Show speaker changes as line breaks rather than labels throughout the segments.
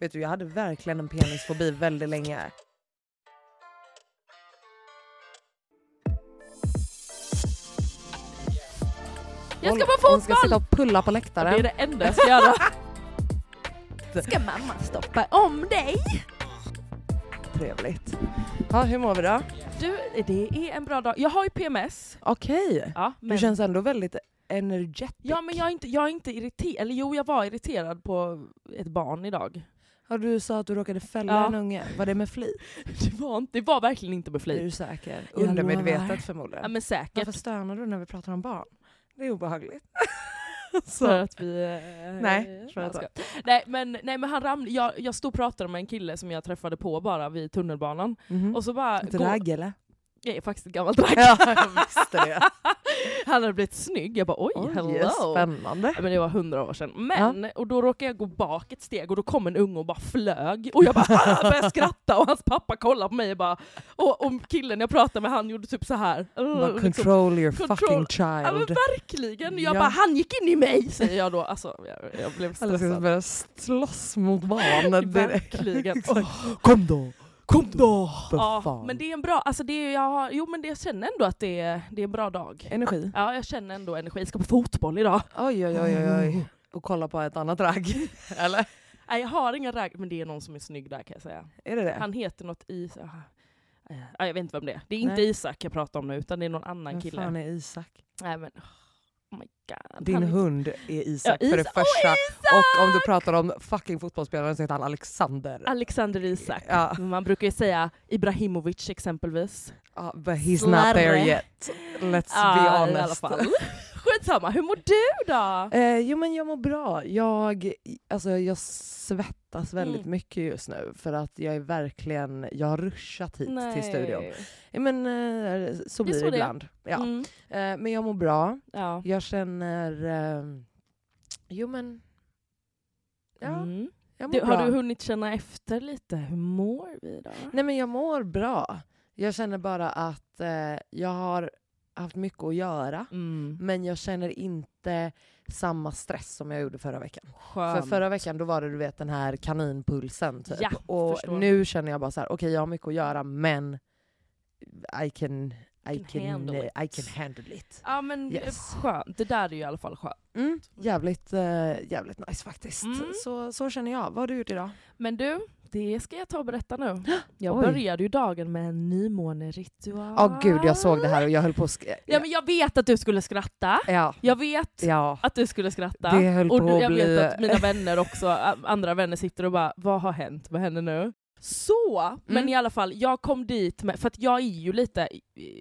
Vet du, jag hade verkligen en penisfobi väldigt länge.
Jag ska
Hon-
på fotboll!
Hon ska sitta och pulla på läktaren.
Det är det enda jag ska göra.
Ska mamma stoppa om dig?
Trevligt. Ja, hur mår vi då?
Du, det är en bra dag. Jag har ju PMS.
Okej.
Ja,
Du
men,
känns ändå väldigt energetic.
ja, men jag, är inte, jag är inte irriterad. Eller jo, jag var irriterad på ett barn idag.
Ja, du sa att du råkade fälla
Ja.
en unge. Var det med flit?
Det var, inte, det var verkligen inte med
Är du
flit.
säker?
Jag lovar.
Undermedvetet förmodligen.
Ja, men säkert.
Varför stönar du när vi pratar om barn? Det är obehagligt.
För att vi... eh,
Nej, tror jag
ska-
inte.
nej, men, nej men han ramlade, jag, jag stod och pratade med en kille som jag träffade på bara vid tunnelbanan.
Mhm.
Och så bara...
Ett
går-
ragg eller?
Jag är faktiskt ett gammalt ragg.
Ja, jag visste det.
han hade blivit snygg, jag bara oj, hello.
spännande.
Ja, Men det var hundra år sedan. Men, och då råkade jag gå bak ett steg och då kom en unge och bara flög. Och jag bara ah! började skratta och hans pappa kollade på mig och bara... Och, och killen jag pratade med han gjorde typ så här.
Bara,
"Ugh", liksom.
control your
Control-
fucking
Ja, men
child.
verkligen! Jag
Ja.
bara han gick in i mig säger jag då. Alltså, jag, jag blev
Alla ska
stressad.
liksom börja slåss mot barnen direkt.
alltså. Verkligen.
Exakt. Kom då! Kom då! För
Ja,
fan.
men det är en bra... Alltså det är, jag, har, jo men det, jag känner ändå att det är, det är en bra dag.
Energi.
Ja, jag känner ändå energi. Jag ska på fotboll idag.
Oj, oj, oj, oj, oj. Och kolla på ett annat ragg. Eller?
Nej, jag har ingen ragg, men det är någon som är snygg där kan jag säga.
Är det det?
Han heter något is... ah, eh, ah, jag vet inte vem det är. Det är inte
Nej.
Isak jag pratar om nu, utan det är någon annan
Vem
kille.
fan är Isak?
Nej men... Oh my god.
Din
Han-
hund är Isak
Ja,
för det
Isak. Åh,
första.
Isak!
och om du pratar om fucking fotbollsspelaren så heter han Alexander.
Alexander Isak.
Ja.
Men Man brukar ju säga Ibrahimovic exempelvis.
Ja, Ah, but he's
Slarre.
not there yet. Let's
Ah,
be
I alla
honest.
fall. Skitsamma, hur mår du då?
Eh, jo men jag mår bra. Jag, alltså, jag svettas väldigt
Mm.
mycket just nu för att jag är verkligen, jag har ruschat hit till studion. Ja, men, eh, så
Det är
blir
så
det
det är.
ibland. Ja.
Mm,
Eh, men jag mår bra.
ja.
Jag känner, eh, jo men, ja
Mm.
jag mår
Du,
bra.
har du hunnit känna efter lite? Hur mår vi då?
Nej men jag mår bra. Jag känner bara att eh, jag har haft mycket att göra.
Mm.
Men jag känner inte samma stress som jag gjorde förra veckan. För
Skönt.
förra veckan då var det du vet den här kaninpulsen typ.
Ja,
och
förstår.
nu känner jag bara så här: okej jag har mycket att göra men I can, I
Can
can,
handle
eh,
it.
I can handle it.
Ja men
Yes.
skönt, det där är ju i alla fall skönt.
Mm, jävligt, eh, jävligt nice faktiskt.
Mm.
Så, så känner jag. Vad har du gjort idag?
Men du, det ska jag ta och berätta nu. Jag
Oj.
började ju dagen med en nymåneritual.
Ja gud jag såg det här och jag höll på att sk-
Ja men jag vet att du skulle skratta.
ja,
Jag vet
ja.
att du skulle skratta.
Det höll
och
på
du-
att
jag
bli- eh,
vet att mina vänner också, a- andra vänner sitter och bara vad har hänt med henne nu? Så! Men
Mm.
i alla fall, jag kom dit eh, med, för att jag är ju lite,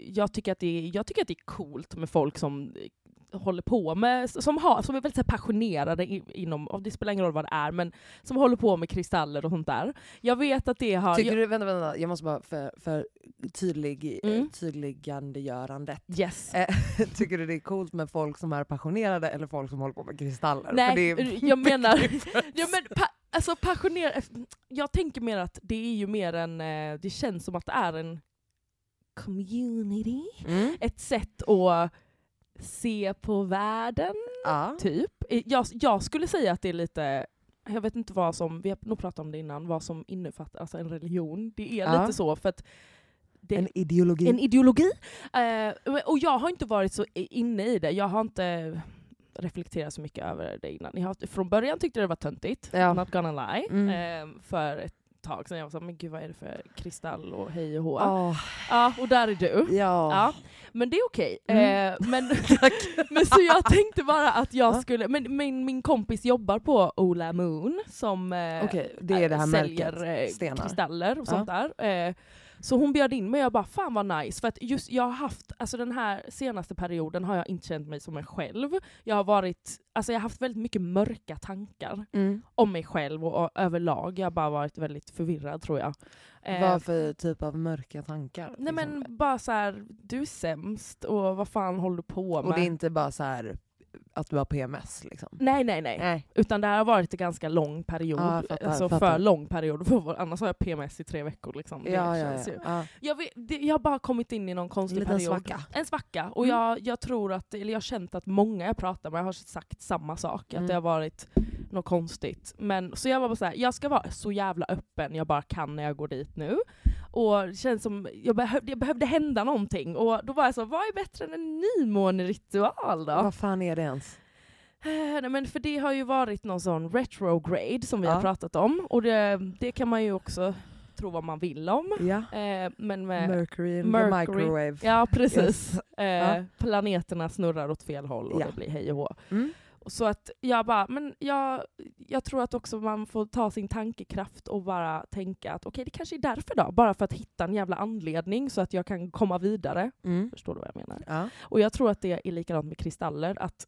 jag tycker att det är, jag tycker att det är coolt med folk som eh, håller på med, som, har, som är väldigt så här passionerade i- inom, och det spelar ingen roll vad det är, men som håller på med kristaller och sånt där. Jag vet att det har...
Tycker du, vänta, vänta, jag måste bara för, för tydlig, eh,
Mm.
tydligandegörande.
jag, yes.
Eh, tycker du det är coolt med folk som är passionerade eller folk som håller på med kristaller?
Nej,
För det är,
jag menar... ja, men pa, alltså passionerad... Jag tänker mer att det är ju mer en... eh, Det känns som att det är en community.
mm,
Ett sätt att se på världen,
ja.
typ. Eh, Jag, jag skulle säga att det är lite... Jag vet inte vad som... Vi har nog pratat om det innan, vad som innefattar alltså en religion. Det är
Ja.
lite så, för att... Det,
En ideologi.
en ideologi. Eh, och jag har inte varit så inne i det. Jag har inte reflekterat så mycket över det innan. Jag har, från början tyckte jag det var töntigt,
Ja.
not gonna lie,
Mm.
eh, för ett tag sedan. Jag var såhär, men gud vad är det för kristall och hej och hå. Ja,
Åh,
och där är du.
ja.
Ja, men det är okej.
Mm.
Eh, men, men så jag tänkte bara att jag skulle, men, men min kompis jobbar på Ola Moon som eh,
Okej, det är det här
säljer eh,
märket. Stenar.
kristaller och sånt där. Eh, Så hon bjöd in mig och jag bara fan vad nice. För att just jag har haft, alltså den här senaste perioden har jag inte känt mig som mig själv. Jag har varit, alltså jag har haft väldigt mycket mörka tankar
Mm.
om mig själv och, och överlag. Jag har bara varit väldigt förvirrad tror jag. Eh,
Vad för typ av mörka tankar?
Nej
liksom?
men bara så här, du är sämst och vad fan håller du på med?
Och det är inte bara så här att du har PMS liksom?
Nej nej nej.
Nej.
Utan det här har varit en ganska lång period.
Ja, jag fattar,
alltså
fattar.
för lång period. För, annars har jag PMS i tre veckor. Liksom. Det
Ja, ja,
känns
ja.
ju.
ja.
Jag, vet, det, jag har bara kommit in i någon
En
konstig
liten
period.
svacka. Mm.
En svacka. Och jag, jag tror att, eller jag har känt att många jag pratar med har sagt samma sak.
Mm.
Att det har varit något konstigt. Men, så jag var bara såhär, jag ska vara så jävla öppen jag bara kan när jag går dit nu. Och det känns som, jag behövde, jag behövde hända någonting. Och då var jag så, vad är bättre än en nymåneritual då?
Vad fan är det ens?
Eh, Nej, men för det har ju varit någon sån retrograde som vi
Ja.
har pratat om. Och det, det kan man ju också tro vad man vill om.
Ja.
Eh, men med,
Mercury in the
Mercury.
microwave.
Ja precis.
Yes.
Eh,
Ja.
Planeterna snurrar åt fel håll och
Ja.
det blir hej och hå.
Mm.
Och Så att jag bara, men jag, jag tror att också man får ta sin tankekraft och bara tänka att okej det kanske är därför då. Bara för att hitta en jävla anledning så att jag kan komma vidare.
Mm.
Förstår du vad jag menar?
Ja.
Och jag tror att det är likadant med kristaller. Att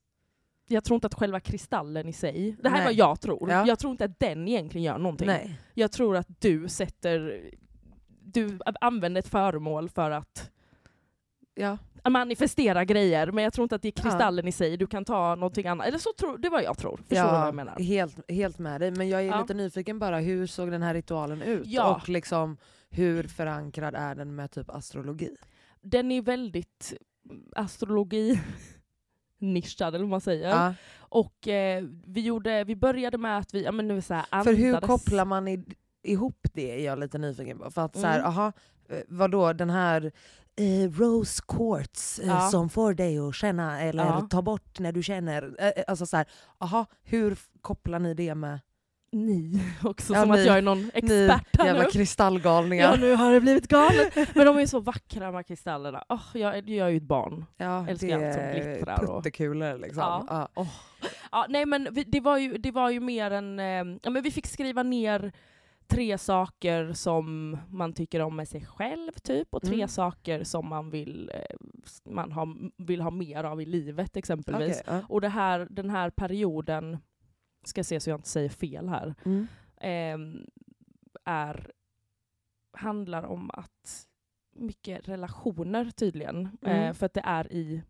jag tror inte att själva kristallen i sig, det här
Nej.
är vad jag tror,
Ja.
jag tror inte att den egentligen gör någonting.
Nej.
Jag tror att du sätter, du använder ett föremål för att
Ja.
manifestera grejer, men jag tror inte att det är
Ja.
kristallen i sig, du kan ta någonting annat. Eller så tror, det är vad jag tror. Förstår du vad jag menar?
Helt, helt med dig. Men jag är
Ja.
lite nyfiken bara, hur såg den här ritualen ut?
Ja.
Och liksom, hur förankrad är den med typ astrologi?
Den är väldigt mm, astrologi nischad eller vad man säger.
Ja.
Och eh, vi, gjorde, vi började med att vi ja, men nu så här,
För hur
andades.
kopplar man i, ihop det är jag lite nyfiken på. För att så här,
Mm.
aha, eh, vadå den här eh, Rose Quartz eh,
Ja.
som får dig att känna eller
Ja.
ta bort när du känner. Eh, eh, alltså så här, aha, hur f- kopplar ni det med
ni också,
Ja,
som
ni.
att jag är någon expert här
jävla
nu. Ja,
kristallgalningar?
nu har det blivit galet. Men de är så vackra de här kristallerna. Åh, jag, är- jag är ju ett barn.
Ja,
Älskar
det
allt som
är
glittrar och-
Puttekulor liksom.
Ja.
Ja.
Ja, nej men vi, det, var ju, det var ju mer en... Eh, ja, men vi fick skriva ner tre saker som man tycker om med sig själv typ och tre
Mm.
saker som man, vill, eh, s- man ha, vill ha mer av i livet exempelvis.
Okej, ja.
Och det här, den här perioden, ska se så jag inte säger fel här,
Mm.
ehm, är, handlar om att mycket relationer tydligen.
Mm.
Eh, för att det är i,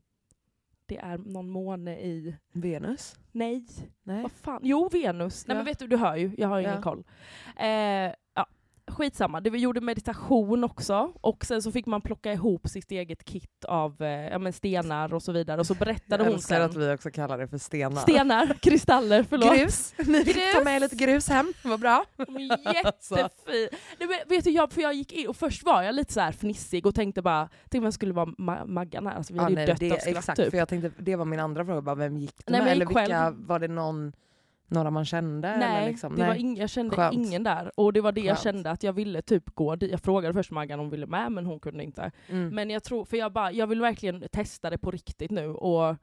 det är någon måne i,
Venus?
nej,
Nej.
vad fan, jo Venus. Nej
Ja.
men vet du, du hör ju, jag har ju
Ja.
ingen koll. Eh, ja. Skitsamma, det vi gjorde meditation också och sen så fick man plocka ihop sitt eget kit av eh, ja, men stenar och så vidare och så berättade
jag
hon
älskar
sen.
att vi också kallar det för stenar.
Stenar, kristaller, förlåt.
Grus! Ni fick ta med lite grus hem, vad bra.
De är
Alltså.
Jättefin! Nej, men vet du, jag, för jag gick in och först var jag lite så här fnissig och tänkte bara, tänkte man skulle vara ma- Maggan här, alltså, vi
Ja,
hade ju
nej,
dött
det,
av skratt
exakt,
typ.
för jag tänkte, det var min andra fråga, bara, vem gick du
Nej,
med?
men jag
Eller
gick själv.
vilka, var det någon, några man kände? eller
Nej,
liksom?
det Var ing- jag kände
Skönt.
ingen där. Och det var det jag
Skönt.
kände, att jag ville typ gå dit. Jag frågade först Maggan om hon ville med, men hon kunde inte.
Mm.
Men jag tror, för jag bara, jag vill verkligen testa det på riktigt nu. Och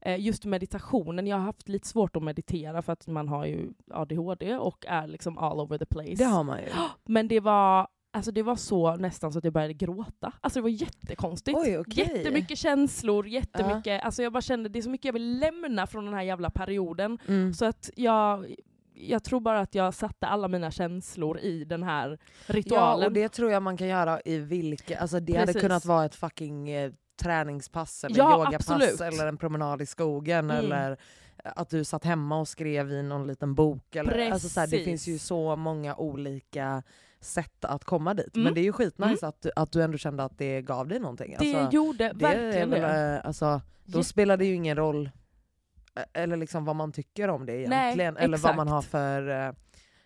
eh, just meditationen, jag har haft lite svårt att meditera för att man har ju ADHD och är liksom all over the place.
det har man ju.
Men det var Alltså det var så nästan så att jag började gråta. Alltså det var jättekonstigt.
Oj, okej.
Jättemycket känslor, jättemycket, alltså jag bara kände det är så mycket jag vill lämna från den här jävla perioden.
Mm.
Så att jag, jag tror bara att jag satte alla mina känslor i den här ritualen.
Ja, och det tror jag man kan göra i vilka... Alltså det hade
Precis.
kunnat vara ett fucking eh, träningspass eller
Ja,
yogapass
absolut.
eller en promenad i skogen
Mm.
eller att du satt hemma och skrev i någon liten bok. Eller, alltså så här, det
Precis.
finns ju så många olika sätt att komma dit. Men
Mm.
det är ju skitnice att, du- att du ändå kände att det gav dig någonting.
Det
alltså,
gjorde
det är
verkligen
väl,
det.
eh, alltså, då
Jätte-
spelar det ju ingen roll eh, eller liksom vad man tycker om det egentligen. eller vad man
exakt.
har för eh,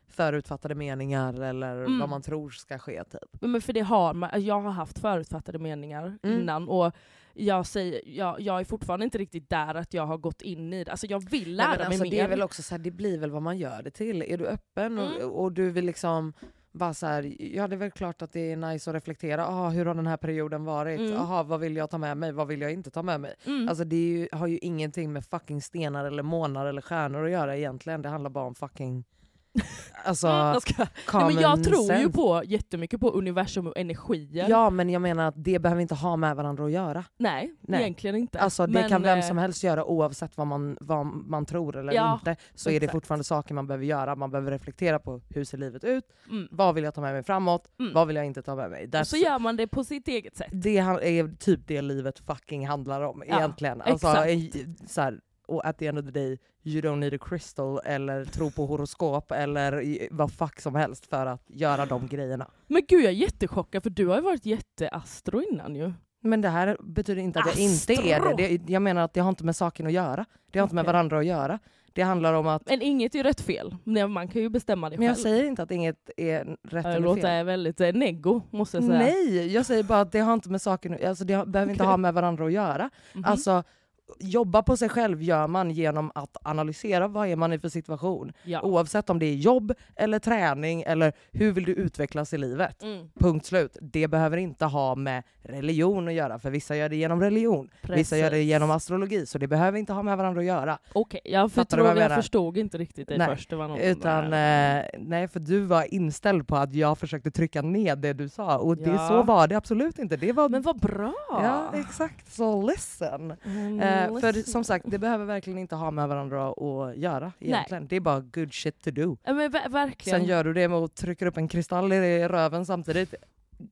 förutfattade meningar eller
Mm.
vad man tror ska ske. Typ.
Men för det har man, alltså, jag har haft förutfattade meningar
Mm.
innan och jag, säger, jag, jag är fortfarande inte riktigt där att jag har gått in i det. Alltså jag vill lära
Nej, men
mig
alltså,
mer.
Det, är väl också så här, det blir väl vad man gör det till. Är du öppen
Mm.
och, och du vill liksom bara så här, ja det är väl klart att det är nice att reflektera. Aha, hur har den här perioden varit?
Mm.
Aha, vad vill jag ta med mig? Vad vill jag inte ta med mig?
mm.
Alltså det är ju, har ju ingenting med fucking stenar eller månar eller stjärnor att göra egentligen. Det handlar bara om fucking... Alltså,
Mm, jag ska- Nej,
common
men jag tror ju
sense.
på jättemycket på universum och energier.
Ja men jag menar att det behöver inte ha med varandra att göra.
Nej,
Nej.
egentligen inte.
Alltså det
Men,
kan vem
eh,
som helst göra oavsett vad man, vad man tror eller
Ja,
inte. Så är det
exakt.
fortfarande saker man behöver göra. Man behöver reflektera på hur ser livet ut?
Mm.
Vad vill jag ta med mig framåt?
Mm.
Vad vill jag inte ta med mig?
Och så gör man det på sitt eget sätt.
det han- är typ det livet fucking handlar om
Ja,
egentligen. Alltså,
exakt.
en- så här, och at the end of the day, you don't need a crystal eller tro på horoskop eller i- vad fuck som helst för att göra de grejerna.
Men gud jag är jättechockad för du har ju varit jätteastro innan ju.
Men det här betyder inte att jag inte är
Astro!
det. det. Jag menar att det har inte med saken att göra. Det har inte med
Okej.
varandra att göra. Det handlar om att...
Men inget är ju rätt fel. Nej, Man kan ju bestämma det
Men jag
själv.
säger inte att inget är rätt
det
eller fel.
låter väldigt eh, neggo måste jag säga.
Nej, jag säger bara att det har inte med saken att- alltså det har- behöver inte
Okej.
ha med varandra att göra.
Mhm.
Alltså, jobba på sig själv gör man genom att analysera vad är man i för situation.
ja.
Oavsett om det är jobb eller träning eller hur vill du utvecklas i livet.
mm,
Punkt slut. Det behöver inte ha med religion att göra, för vissa gör det genom religion. Vissa gör det
precis.
genom astrologi, så det behöver inte ha med varandra att göra.
Okej, jag,
Fattar
för
du vad jag
tror, jag
menar?
förstod inte riktigt det
Nej,
först. Det var någon
Utan, eh, nej, för du var inställd på att jag försökte trycka ned det du sa och det,
Ja.
så var det absolut inte. Det var...
Men vad bra!
eh, Ja, exakt. Så listen.
Mm,
Eh, för
listen.
som sagt, det behöver verkligen inte ha med varandra att göra egentligen. Det är bara good shit to do.
Ja, men ver- verkligen.
Sen gör du det med att trycka upp en kristall i röven samtidigt.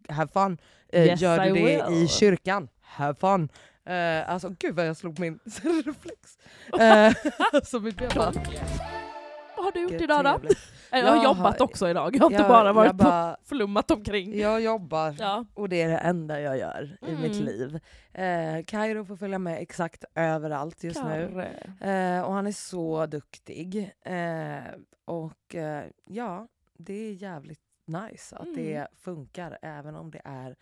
Have fun. Eh,
Yes,
gör du
I
det i
will.
kyrkan. Have fun. Eh, alltså gud vad jag slog min reflex. Eh, alltså mitt ben bara...
Vad har du gjort
Gud,
idag då?
trevligt.
Eh, Jag, har
Jag
jobbat
har-
också idag, jag har inte
Jag-
bara varit
jag, bara,
på flummat omkring.
jag jobbar.
Ja.
Och det är det enda jag gör i mitt
Mm.
liv. Eh, Kairo får följa med exakt överallt just nu.
Karre.
Eh, och han är så duktig. Eh, och eh, ja, det är jävligt nice att det
Mm.
funkar även om det är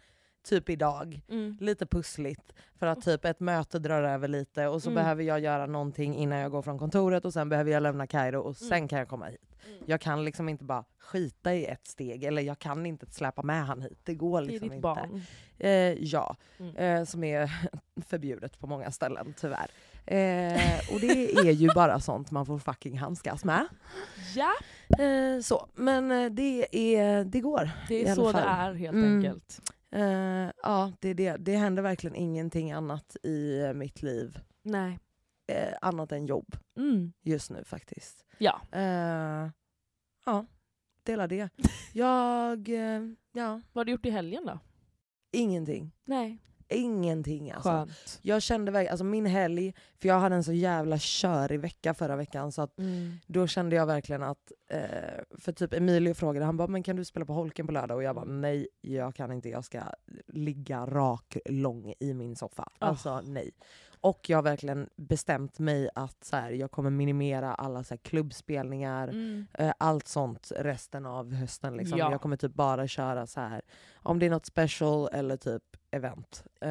typ idag.
Mm.
Lite pussligt för att typ ett möte drar över lite och så
Mm.
behöver jag göra någonting innan jag går från kontoret och sen behöver jag lämna Kairo och sen
Mm.
kan jag komma hit.
Mm.
Jag kan liksom inte bara skita i ett steg eller jag kan inte släpa med han hit. Det går
Det är
liksom
ditt
inte.
barn.
Eh, ja,
Mm.
eh, som är förbjudet på många ställen tyvärr. Eh, och det är ju bara sånt man får fucking handskas med.
Ja,
Eh, så. Men eh, det, är, det går. I alla
det är så det
fall.
är helt
Mm.
enkelt.
Eh, ja, det, är det. det händer verkligen ingenting annat i eh, mitt liv,
Nej.
eh, annat än jobb
Mm.
just nu faktiskt.
Ja.
Eh, ja, dela det. Jag, eh, ja,
Vad har du gjort i helgen då?
ingenting.
Nej.
Ingenting alltså.
Skönt.
Jag kände verkligen, alltså min helg, för jag hade en så jävla körig vecka förra veckan så att
Mm.
då kände jag verkligen att, eh, för typ Emilio frågade, han bara men kan du spela på Holken på lördag? Och jag bara nej, jag kan inte, jag ska ligga rak lång i min soffa.
Ah.
Alltså nej. Och jag har verkligen bestämt mig att så här, jag kommer minimera alla så här, klubbspelningar,
Mm.
eh, allt sånt resten av hösten. Liksom.
Ja.
Jag kommer typ bara köra så här om det är något special eller typ event. Eh,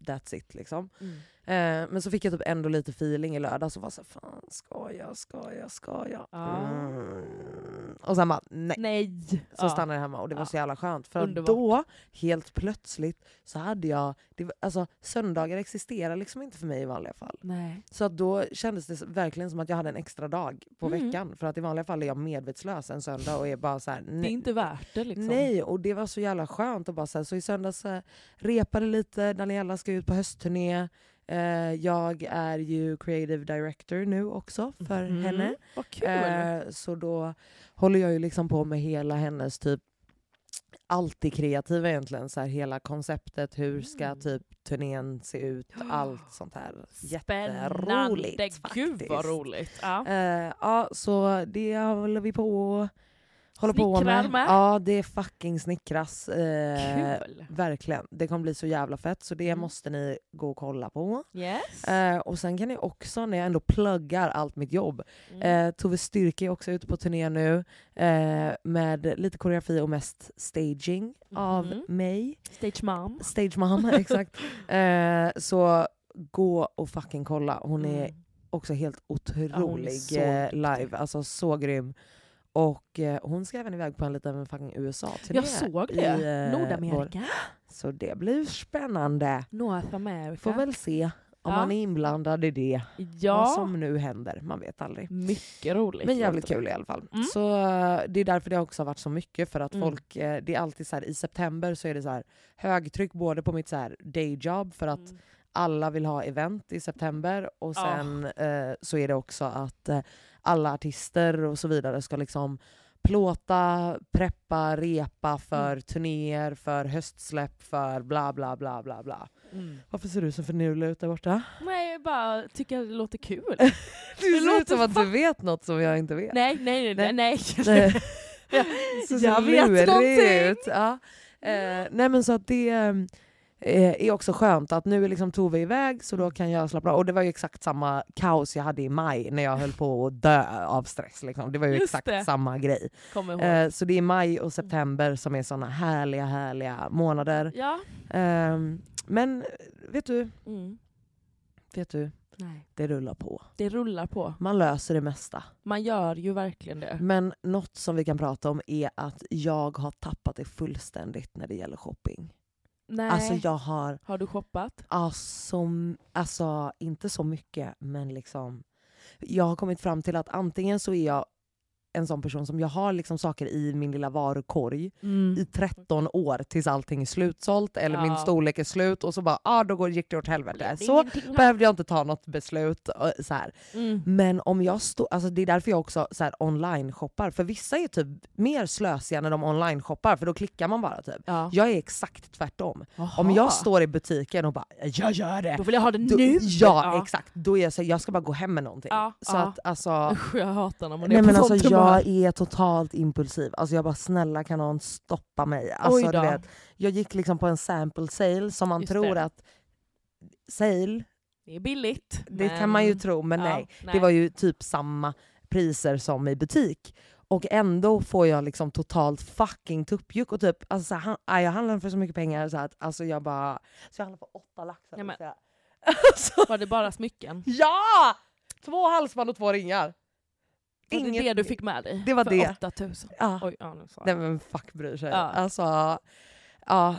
that's it liksom.
Mm.
Eh, men så fick jag typ ändå lite feeling i lördags och var så här, fan ska jag, ska jag, ska jag?
Ja.
Mm. Och sen bara nej.
Nej!
Så stannade jag hemma och det var
Ja.
så jävla skönt. För att
Underbart.
då, helt plötsligt, så hade jag... Det, var- alltså, söndagar existerar liksom inte för mig i vanliga fall.
Nej.
Så att då kändes det verkligen som att jag hade en extra dag på
Mm.
veckan. För att i vanliga fall är jag medvetslös en söndag och är bara så här,
Det är
nej,
inte värt det liksom.
Nej, och det var så jävla skönt. Och bara så, här, så i söndags eh, repade lite, Daniela ska ut på höstturné. Eh, jag är ju creative director nu också för
Mm.
henne.
Vad kul!
Eh, så då håller jag ju liksom på med hela hennes typ allt det kreativa egentligen, så här, hela konceptet, hur ska
Mm.
typ turnén se ut, allt sånt här.
Spännande!
Jätteroligt
Gud vad
faktiskt.
roligt! Ja.
Eh, ja, så det håller vi på och håller på
Snickrar
med.
med.
Ja, det fucking snickras. Eh,
Kul!
verkligen. Det kommer bli så jävla fett, så det
Mm.
måste ni gå och kolla på.
Yes!
Eh, och sen kan ni också, när jag ändå pluggar allt mitt jobb,
Mm.
eh, Tove Styrke är också ute på turné nu eh, med lite koreografi och mest staging av
Mhm.
mig.
Stage mom.
Stage mom, exakt. Eh, så gå och fucking kolla. Hon är
Mm.
också helt
är
otrolig
så
eh,
duktig.
live, alltså så grym. Och eh, hon ska även iväg på en liten fucking USA-turné.
Jag såg
i,
det.
eh, vår.
Nordamerika.
Så det blir spännande.
North America.
Får väl se om
Ja.
man är inblandad i det. Vad
Ja,
som nu händer, man vet aldrig.
mycket roligt.
Men jävligt
låter det.
kul i alla fall.
Mm.
Så eh, det är därför det också har varit så mycket för att
Mm.
folk, eh, det är alltid så här i september så är det så här högtryck både på mitt så här dayjob för att
Mm.
alla vill ha event i september och
Ja.
sen eh, så är det också att eh, alla artister och så vidare ska liksom plåta, preppa, repa för turnéer, för höstsläpp, för bla bla bla bla bla.
Mm.
Varför ser du så finurlig ut där borta?
Nej, jag bara tycker att det låter kul.
Du
Det
ser
låter
ut som att du vet något som jag inte vet.
nej, nej, nej, nej. nej.
Nej.
Ja,
Eh, Så
jag
ser
vet
lurig
någonting.
ut. Ja. Eh, nej men så att det eh, är också skönt att nu är liksom Tove iväg så då kan jag slappna av. Och det var ju exakt samma kaos jag hade i maj när jag höll på att dö av stress. Liksom. Det var ju
Just
exakt
det.
samma grej.
Kommer ihåg.
Eh, så det är maj och september som är såna härliga, härliga månader.
ja.
Ehm, men vet du,
Mm.
vet du,
Nej.
det rullar på.
Det rullar på.
Man löser det mesta.
Man gör ju verkligen det.
Men något som vi kan prata om är att jag har tappat det fullständigt när det gäller shopping.
Nej.
Alltså jag har,
Har du shoppat?
alltså, alltså inte så mycket men liksom, jag har kommit fram till att antingen så är jag en sån person som jag har liksom saker i min lilla varukorg i 13 år tills allting är slutsålt eller min
Mm. Ja.
storlek är slut och så bara, ah, då går, gick det åt helvete.
Blev det
Så
ingenting?
behövde jag inte ta något beslut. och Så här.
Mm.
Men om jag står, alltså det är därför jag också så här online shoppar. För vissa är typ mer slösiga när de online shoppar för då klickar man bara typ.
Ja.
Jag är exakt tvärtom. Om
Aha.
jag står i butiken och bara “jag gör det”,
Då vill jag ha det
då,
nu!
ja, exakt, då är jag såhär, jag ska bara gå hem med någonting.
Ja,
så
ja.
att alltså,
Usch, jag hatar när man
nej
är
men
på
alltså
sånt humör.
jag är totalt impulsiv. Alltså jag bara “snälla kan någon stoppa mig?” alltså,
Oj då.
du vet, Jag gick liksom på en sample sale som man
Just
tror
det.
att Sale,
Det är billigt.
det
men-
kan man ju tro men
Ja,
nej. Det var ju typ samma priser som i butik. Och ändå får jag liksom totalt fucking tuppjuck och typ, alltså, så här, han, aj, jag handlar för så mycket pengar så att alltså, jag bara... Så jag handlar för åtta laxar.
Nej, men-
så jag- alltså,
Var det bara smycken?
ja! Två halsband och två ringar.
Var det
Inget-
det du fick med dig?
Det var
För
det.
8000?
Ja.
Oj, ja, nu sa
Nej
jag.
men fuck bryr sig.
Ja.
Alltså, ja,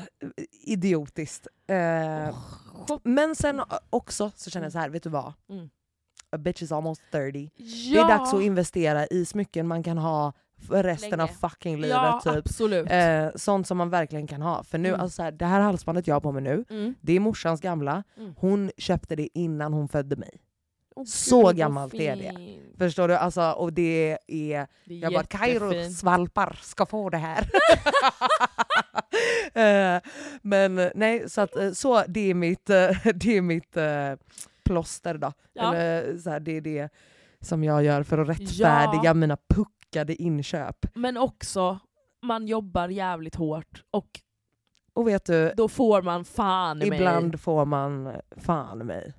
idiotiskt. Eh,
Shop-
Men sen också så känner jag så här, vet du vad?
Oh. Mm.
A bitch is almost 30.
ja.
Det är dags att investera i smycken man kan ha för resten
Länge.
av fucking livet.
Ja,
typ.
absolut.
eh, sånt som man verkligen kan ha. För nu,
Mm.
alltså, så här, det här halsbandet jag har på mig nu,
Mm.
det är morsans gamla.
Mm.
Hon köpte det innan hon födde mig.
Åh,
så
gud, vad
gammalt är det.
fint.
Förstår du? Alltså, och det är...
Det är
Jag bara, Kairos
jättefint.
valpar ska få det här. eh, men nej, så, att, eh, så det är mitt, eh, det är mitt eh, plåster då.
Ja.
Eller, så här, det är det som jag gör för att rättfärdiga
Ja.
mina puckade inköp.
Men också, man jobbar jävligt hårt och
Och vet du,
då får man fan i mig.
ibland får man fan i mig.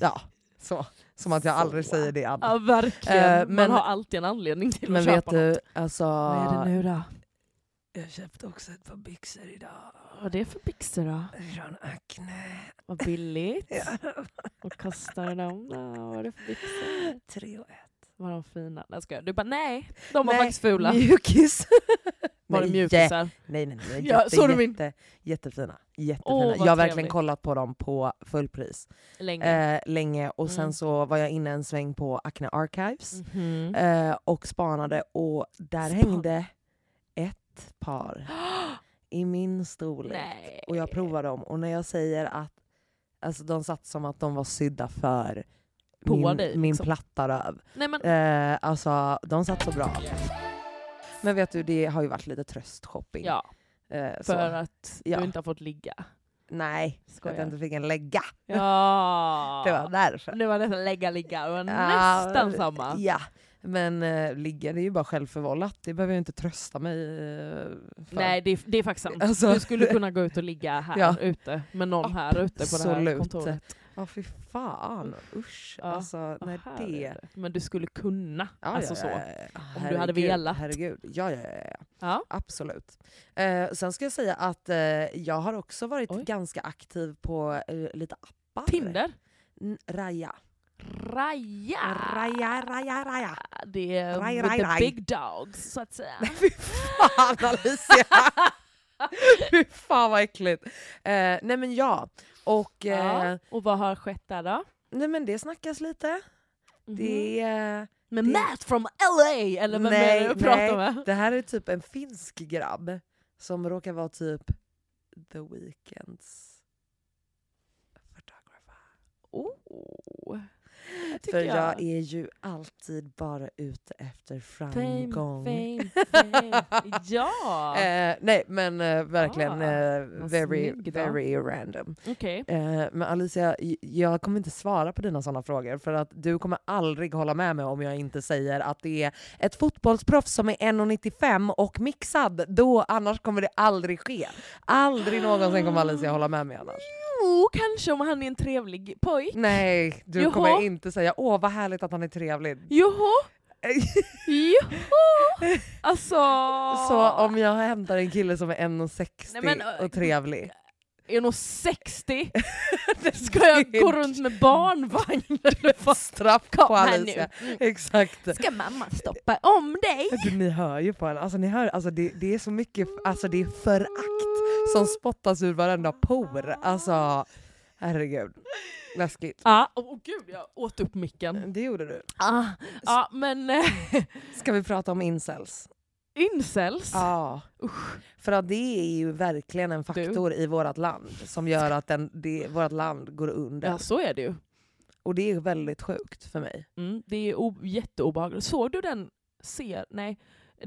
Ja, så. Som att jag
Så.
aldrig säger det annars.
Ja verkligen,
Eh, men-
man har alltid en anledning till
men
att
vet
köpa något.
du, alltså...
Vad är det nu då?
Jag köpte också ett par byxor idag.
Vad är det för byxor då?
Från Acne.
Vad billigt.
Ja.
Vad kostar de då? Vad är det för byxor?
Tre och ett.
Var de fina? Nej, ska jag. Du bara nej, de var
Nej,
faktiskt fula.
Mjukis.
Var det
Nej,
mjukisar?
Nej nej nej,
Ja,
jätte,
såg du min?
jätte, jättefina. jättefina.
Åh, vad
jag har verkligen
trevligt.
kollat på dem på fullpris
Länge.
eh, länge och sen
Mm.
så var jag inne en sväng på Acne Archives
Mhm.
eh, och spanade och där
Span-
hängde ett par i min storlek.
Nej.
Och jag provar dem och när jag säger att alltså, de satt som att de var sydda för
På
min,
dig,
min
liksom.
platta röv.
Nej men
Eh, alltså de satt så bra. Men vet du, det har ju varit lite tröstshopping.
ja,
Eh, så.
för att
Ja.
du inte har fått ligga.
Nej, för att jag
Skojar.
inte fick en lägga.
Ja.
Det var därför.
Nu var det nästan lägga ligga, det var
Ja,
nästan samma.
Ja, men eh, ligga det är ju bara självförvållat. Det behöver jag inte trösta mig eh, för.
Nej det är, det är faktiskt sant.
Alltså-
du skulle kunna gå ut och ligga här
Ja.
ute med någon här ute på det här
Absolut.
kontoret.
Ja, fy fan. Usch.
Ja,
Alltså,
Vad
nej,
här
det...
är det. Men du skulle kunna.
Ja,
alltså
ja,
så.
ja, ja.
Om du hade velat.
Herregud. Ja, ja, ja, ja.
Ja.
absolut. Eh, sen ska jag säga att eh, jag har också varit
Oj.
ganska aktiv på eh, lite appar.
Tinder.
Mm, Raja.
Raja!
Raja, raja, raja.
Det är
Raj,
with
raj,
the
raj.
big dogs så att säga.
Fy fan Alicia! Fy fan vad äckligt. Eh, nej men ja, och eh,
ja. Och vad har skett där då?
nej men det snackas lite.
Mhm.
Det, eh,
Med
det-
Matt from LA eller vem är det du pratar med?
det här är typ en finsk grabb som råkar vara typ The Weeknds photographer.
Oh. Det tycker
För jag är ju alltid bara ute efter
fame,
framgång.
fame, fame. Ja!
Eh, nej men eh, verkligen
Ah,
eh,
vad
very,
snygg då.
very random.
Okej.
Eh, men Alicia, j- jag kommer inte svara på dina sådana frågor för att du kommer aldrig hålla med mig om jag inte säger att det är ett fotbollsproffs som är 1,95 och mixad. Då, annars kommer det aldrig ske. Aldrig någonsin kommer Alicia hålla med mig annars.
Jo, kanske om han är en trevlig pojk.
Mm. Nej, du
Jaha.
kommer inte säga åh vad härligt att han är trevlig.
Joho! Joho! Alltså...
Så om jag hämtar en kille som är 1,60
Nej, men, eh,
och trevlig.
Är nog 60? Ska jag gå runt med barnvagn eller vad?
Straff på
Kom här
Alicia.
nu. Mm.
Exakt.
Ska mamma stoppa om dig?
Du, ni hör ju på henne. Alltså, ni hör, alltså, det, det är så mycket alltså, det är förakt som spottas ur varenda por. Alltså, herregud. Läskigt.
Ja, åh gud jag åt upp micken.
Det gjorde du.
Ah, ja men eh,
Mm. Ska vi prata om incels?
incels?
Ja. För att det är ju verkligen en faktor i vårt land som gör att den, det, vårt land går under.
Ja så är det ju.
Och det är väldigt sjukt för mig.
Mm, det är o- jätteobehagligt. Såg du den ser, nej,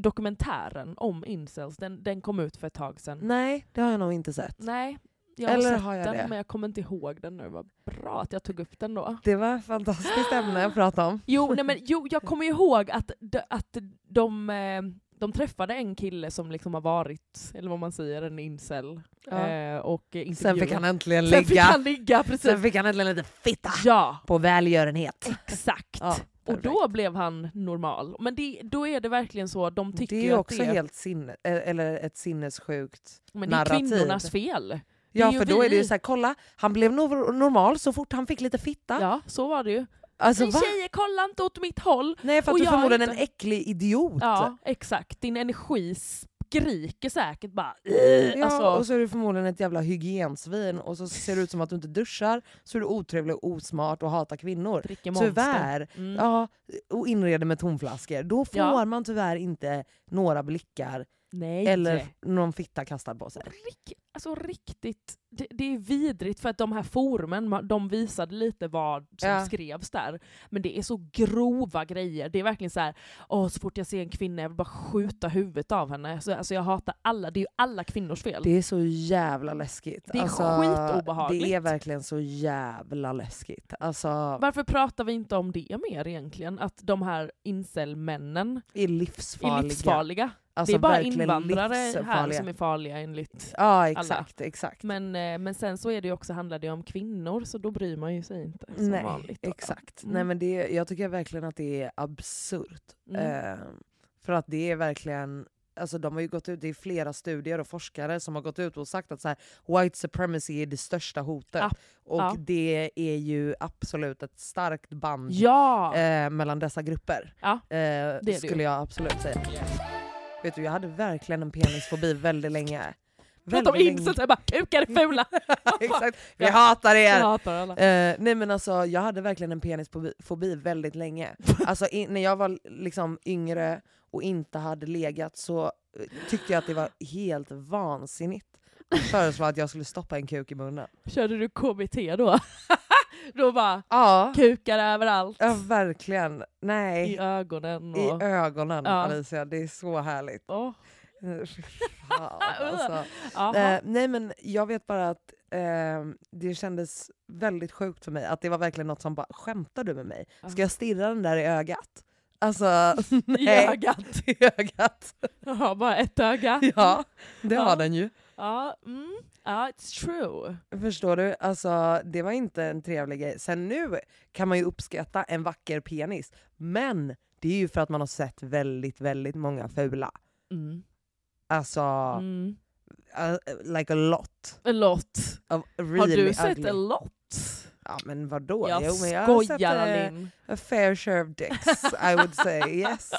dokumentären om incels? Den, den kom ut för ett tag sedan.
Nej, det har jag nog inte sett.
Nej, jag har
Eller
sett
har jag
den
det?
men jag kommer inte ihåg den nu. Vad bra att jag tog upp den då.
Det var ett fantastiskt ämne att prata om.
Jo, nej, men, jo jag kommer ihåg att, de, att de, eh, de träffade en kille som liksom har varit, eller vad man säger, en incel. Eh, och eh,
Sen fick
intervjuade-
han äntligen
Sen fick
ligga.
han ligga, precis.
Sen fick han äntligen lite fitta
Ja,
på välgörenhet.
exakt.
Ja,
och då blev han normal. Men det, då är det verkligen så, de tycker
det
ju
är
att
också
det, är-
helt sinne, eh, eller ett sinnessjukt.
men det är
narrativ.
kvinnornas fel. är
Ja
ju
för då är det ju
vi.
såhär, kolla han blev nor- normal så fort han fick lite fitta.
Ja, så var det ju.
Alltså
Men
va?
tjejer, kolla inte åt mitt håll!
Nej för
och
att du
jag
förmodligen är en
inte.
äcklig idiot.
Ja, exakt. Din energi skriker säkert bara...
Ja,
alltså,
och så är du förmodligen ett jävla hygiensvin och så ser det ut som att du inte duschar, så är du otrevlig och osmart och hatar kvinnor.
dricker monster.
Tyvärr.
Mm.
Ja, och inreder med tomflaskor. Då får
Ja.
man tyvärr inte några blickar
Nej.
eller någon fitta kastad på sig.
Rick, alltså riktigt, det, det är vidrigt för att de här forumen, ma- de visade lite vad som
Ja.
skrevs där. Men det är så grova grejer. Det är verkligen så här, åh så fort jag ser en kvinna jag vill bara skjuta huvudet av henne. Så, alltså jag hatar alla, det är ju alla kvinnors fel.
Det är så jävla läskigt. Alltså,
Det är skitobehagligt.
Det är verkligen så jävla läskigt. Alltså,
Varför pratar vi inte om det mer egentligen? Att de här incelmännen
är
är
livsfarliga.
livsfarliga.
Alltså,
det är bara
verkligen
invandrare här
livsfarliga.
som är farliga enligt...
Ja, exakt. exakt.
Men, eh, men sen så är det ju också, handlar det ju om kvinnor så då bryr man ju sig inte. Som
Nej,
vanligt. då.
exakt.
Mm.
Nej, men det, jag tycker verkligen att det är absurt.
Mm.
Eh, för att det är verkligen alltså de har ju gått ut, det är flera studier och forskare som har gått ut och sagt att så här, white supremacy är det största hotet.
Ah,
och
ja.
det är ju absolut ett starkt band
Ja!
eh, mellan dessa grupper.
Ja,
eh,
det ju.
skulle jag absolut säga. Vet du, jag hade verkligen en penisfobi väldigt länge.
Prata om incels, jag bara kukar är fula!
Exakt, vi hatar er!
Jag hatar alla.
Eh, nej men alltså jag hade verkligen en penisfobi väldigt länge. Alltså i- när jag var liksom yngre och inte hade legat så eh, tyckte jag att det var helt vansinnigt att föreslå att jag skulle stoppa en kuk i munnen.
Körde du KBT då? då bara
Ja,
kukar överallt,
ja verkligen. Nej.
i ögonen
I
och...
ögonen
Ja.
Alicia, det är så härligt.
Åh,
Eh, fy Fan, alltså.
jaha.
Eh, nej men jag vet bara att eh, det kändes väldigt sjukt för mig. Att det var verkligen något som bara, skämtar du med mig? Ska jag stirra den där i ögat? Alltså,
I
nej.
ögat.
I ögat.
Jaha, bara ett öga.
Ja, det
Ja.
har den ju.
Ja, mm. ja, it's true.
Förstår du? Alltså, det var inte en trevlig grej. Sen nu kan man ju uppskatta en vacker penis, men det är ju för att man har sett väldigt, väldigt många fula.
Mm.
Alltså,
Mm.
uh, like a lot
A lot.
of really
Har du sett
ugly.
a lot?
Ja men vadå?
Jag
Jo, men jag har sett,
skojar
eh,
Alin.
A fair share of dicks, I would say. Yes.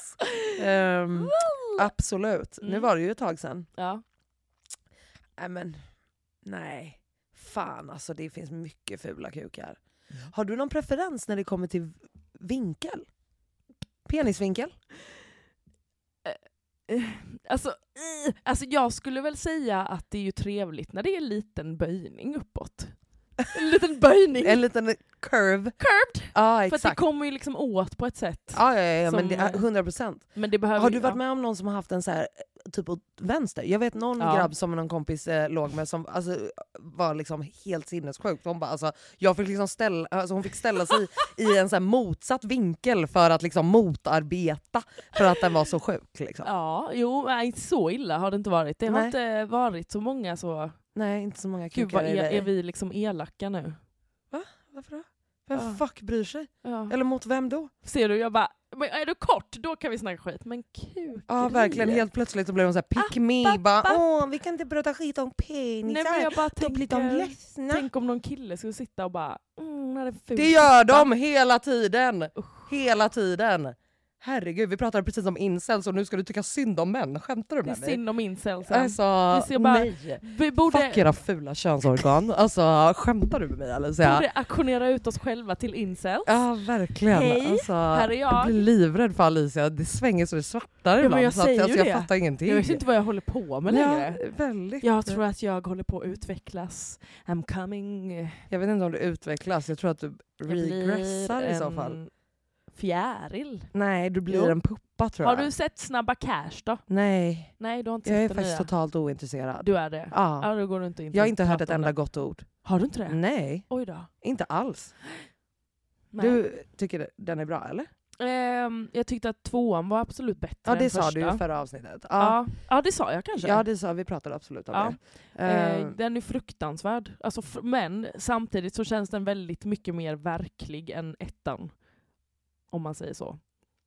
Ehm,
Well.
absolut. Nu
Mm.
var det ju ett tag sedan.
Ja.
Nej men, nej. Fan alltså, det finns mycket fula kukar.
Mm.
Har du någon preferens när det kommer till vinkel? Penisvinkel?
Eh, Alltså, eh, alltså jag skulle väl säga att det är ju trevligt när det är en liten böjning uppåt. En liten böjning!
En liten curve?
Curved!
Ja
För att det
exakt.
kommer ju liksom åt på ett sätt.
Ja, ja, ja, men det,
som-
100 procent.
Men det behöver
Har
ju-
du varit
ja.
med om någon som har haft en så här typ åt vänster? Jag vet någon
Ja.
grabb som någon kompis eh, låg med som alltså, var liksom helt sinnessjukt. Hon, bara, alltså, jag fick liksom ställa, alltså, hon fick ställa sig i en så här motsatt vinkel för att liksom motarbeta för att den var så sjuk. Liksom.
Ja, jo, nej, inte så illa har det inte varit. Det har
Nej.
inte varit så många så...
Nej, inte så många
Gud, vad
kukar i
är, är
dig.
vi liksom elaka nu?
Varför då? Vem
Ja.
fuck bryr sig?
Ja.
Eller mot vem då?
Ser du, jag bara, men är du kort, då kan vi snacka skit. Men kul.
Ja verkligen, helt plötsligt så blev hon så här
Ah,
pick me,
App,
bara
app, app.
åh vi kan inte prata skit om
Nej, men
penisar,
jag bara
då blir de
tänker,
ledsna.
tänk om någon kille skulle sitta och bara, mm, är ful.
Det gör de hela tiden! Hela tiden! Herregud, vi pratade precis om incels och nu ska du tycka synd om män. Skämtar du
Det är
med mig?
synd om incelsen.
Alltså,
Vi ser bara-
nej!
vi borde,
Fuck era fula könsorgan. Alltså, skämtar du med mig Alicia?
borde auktionera ut oss själva till incels.
Ja, verkligen.
Hej,
alltså,
här är jag.
blir livrädd för Alicia. Det svänger så det svartar
men
ibland.
jag
så att,
säger
alltså,
det.
jag fattar ingenting.
jag vet inte vad jag håller på med längre.
Ja, väldigt.
Jag tror att jag håller på att utvecklas. I'm coming. eh,
jag vet inte om du utvecklas, jag tror att du
jag blir
regressar i så
en
fall.
Fjäril.
Nej, du blir
Jo.
en puppa tror
Har
jag.
du sett Snabba Cash då?
Nej.
Nej, du har inte
Jag är
sett den
faktiskt
nya.
totalt ointresserad.
Du är det?
Ja.
Ja, då går du inte in
Jag har inte hört
prata
ett
om
enda Mm.
den.
gott ord.
Har du inte det?
Nej,
Oj då.
inte alls.
Nej.
Du tycker den är bra eller?
Ehm, jag tyckte att tvåan var absolut bättre
Ja det
än
sa
första.
du ju i förra avsnittet. Ja,
Ja. ja, det sa jag kanske.
ja det sa vi pratade absolut om
Ja.
det.
Eh,
Eh,
den är fruktansvärd. Alltså, fr- men samtidigt så känns den väldigt mycket mer verklig än ettan. Om man säger så.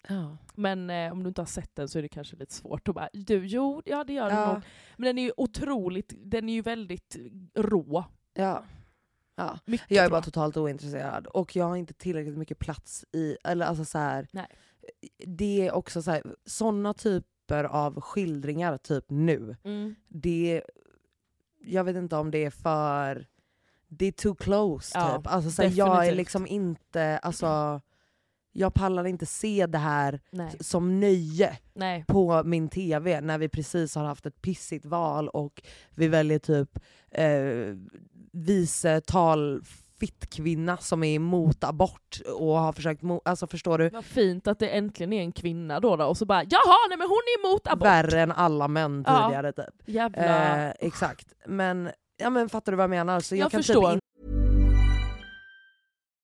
ja.
Men eh, om du inte har sett den så är det kanske lite svårt att bara du, jo, ja det gör den
Ja,
nog. Men den är ju otroligt, den är ju väldigt rå.
ja. Ja.
Mycket
Jag är
rå.
bara totalt ointresserad och jag har inte tillräckligt mycket plats i, eller alltså så här,
Nej.
det är också så här, såna typer av skildringar typ nu,
Mm.
det, jag vet inte om det är för, det är too close
Ja,
typ. Alltså, så här, jag är
definitivt.
liksom inte, alltså, jag pallar inte se det här
Nej.
som nöje
Nej.
på min tv när vi precis har haft ett pissigt val och vi väljer typ eh, vice tal fittkvinna som är emot abort och har försökt, mo- alltså förstår du?
Vad fint att det äntligen är en kvinna då, då och så bara jaha, nej men hon är emot abort.
Värre än alla män
Ja.
tidigare typ.
Jävla...
Eh, exakt. Men, ja, men fattar du vad jag menar? Så jag,
Jag
kan
förstår.
Typ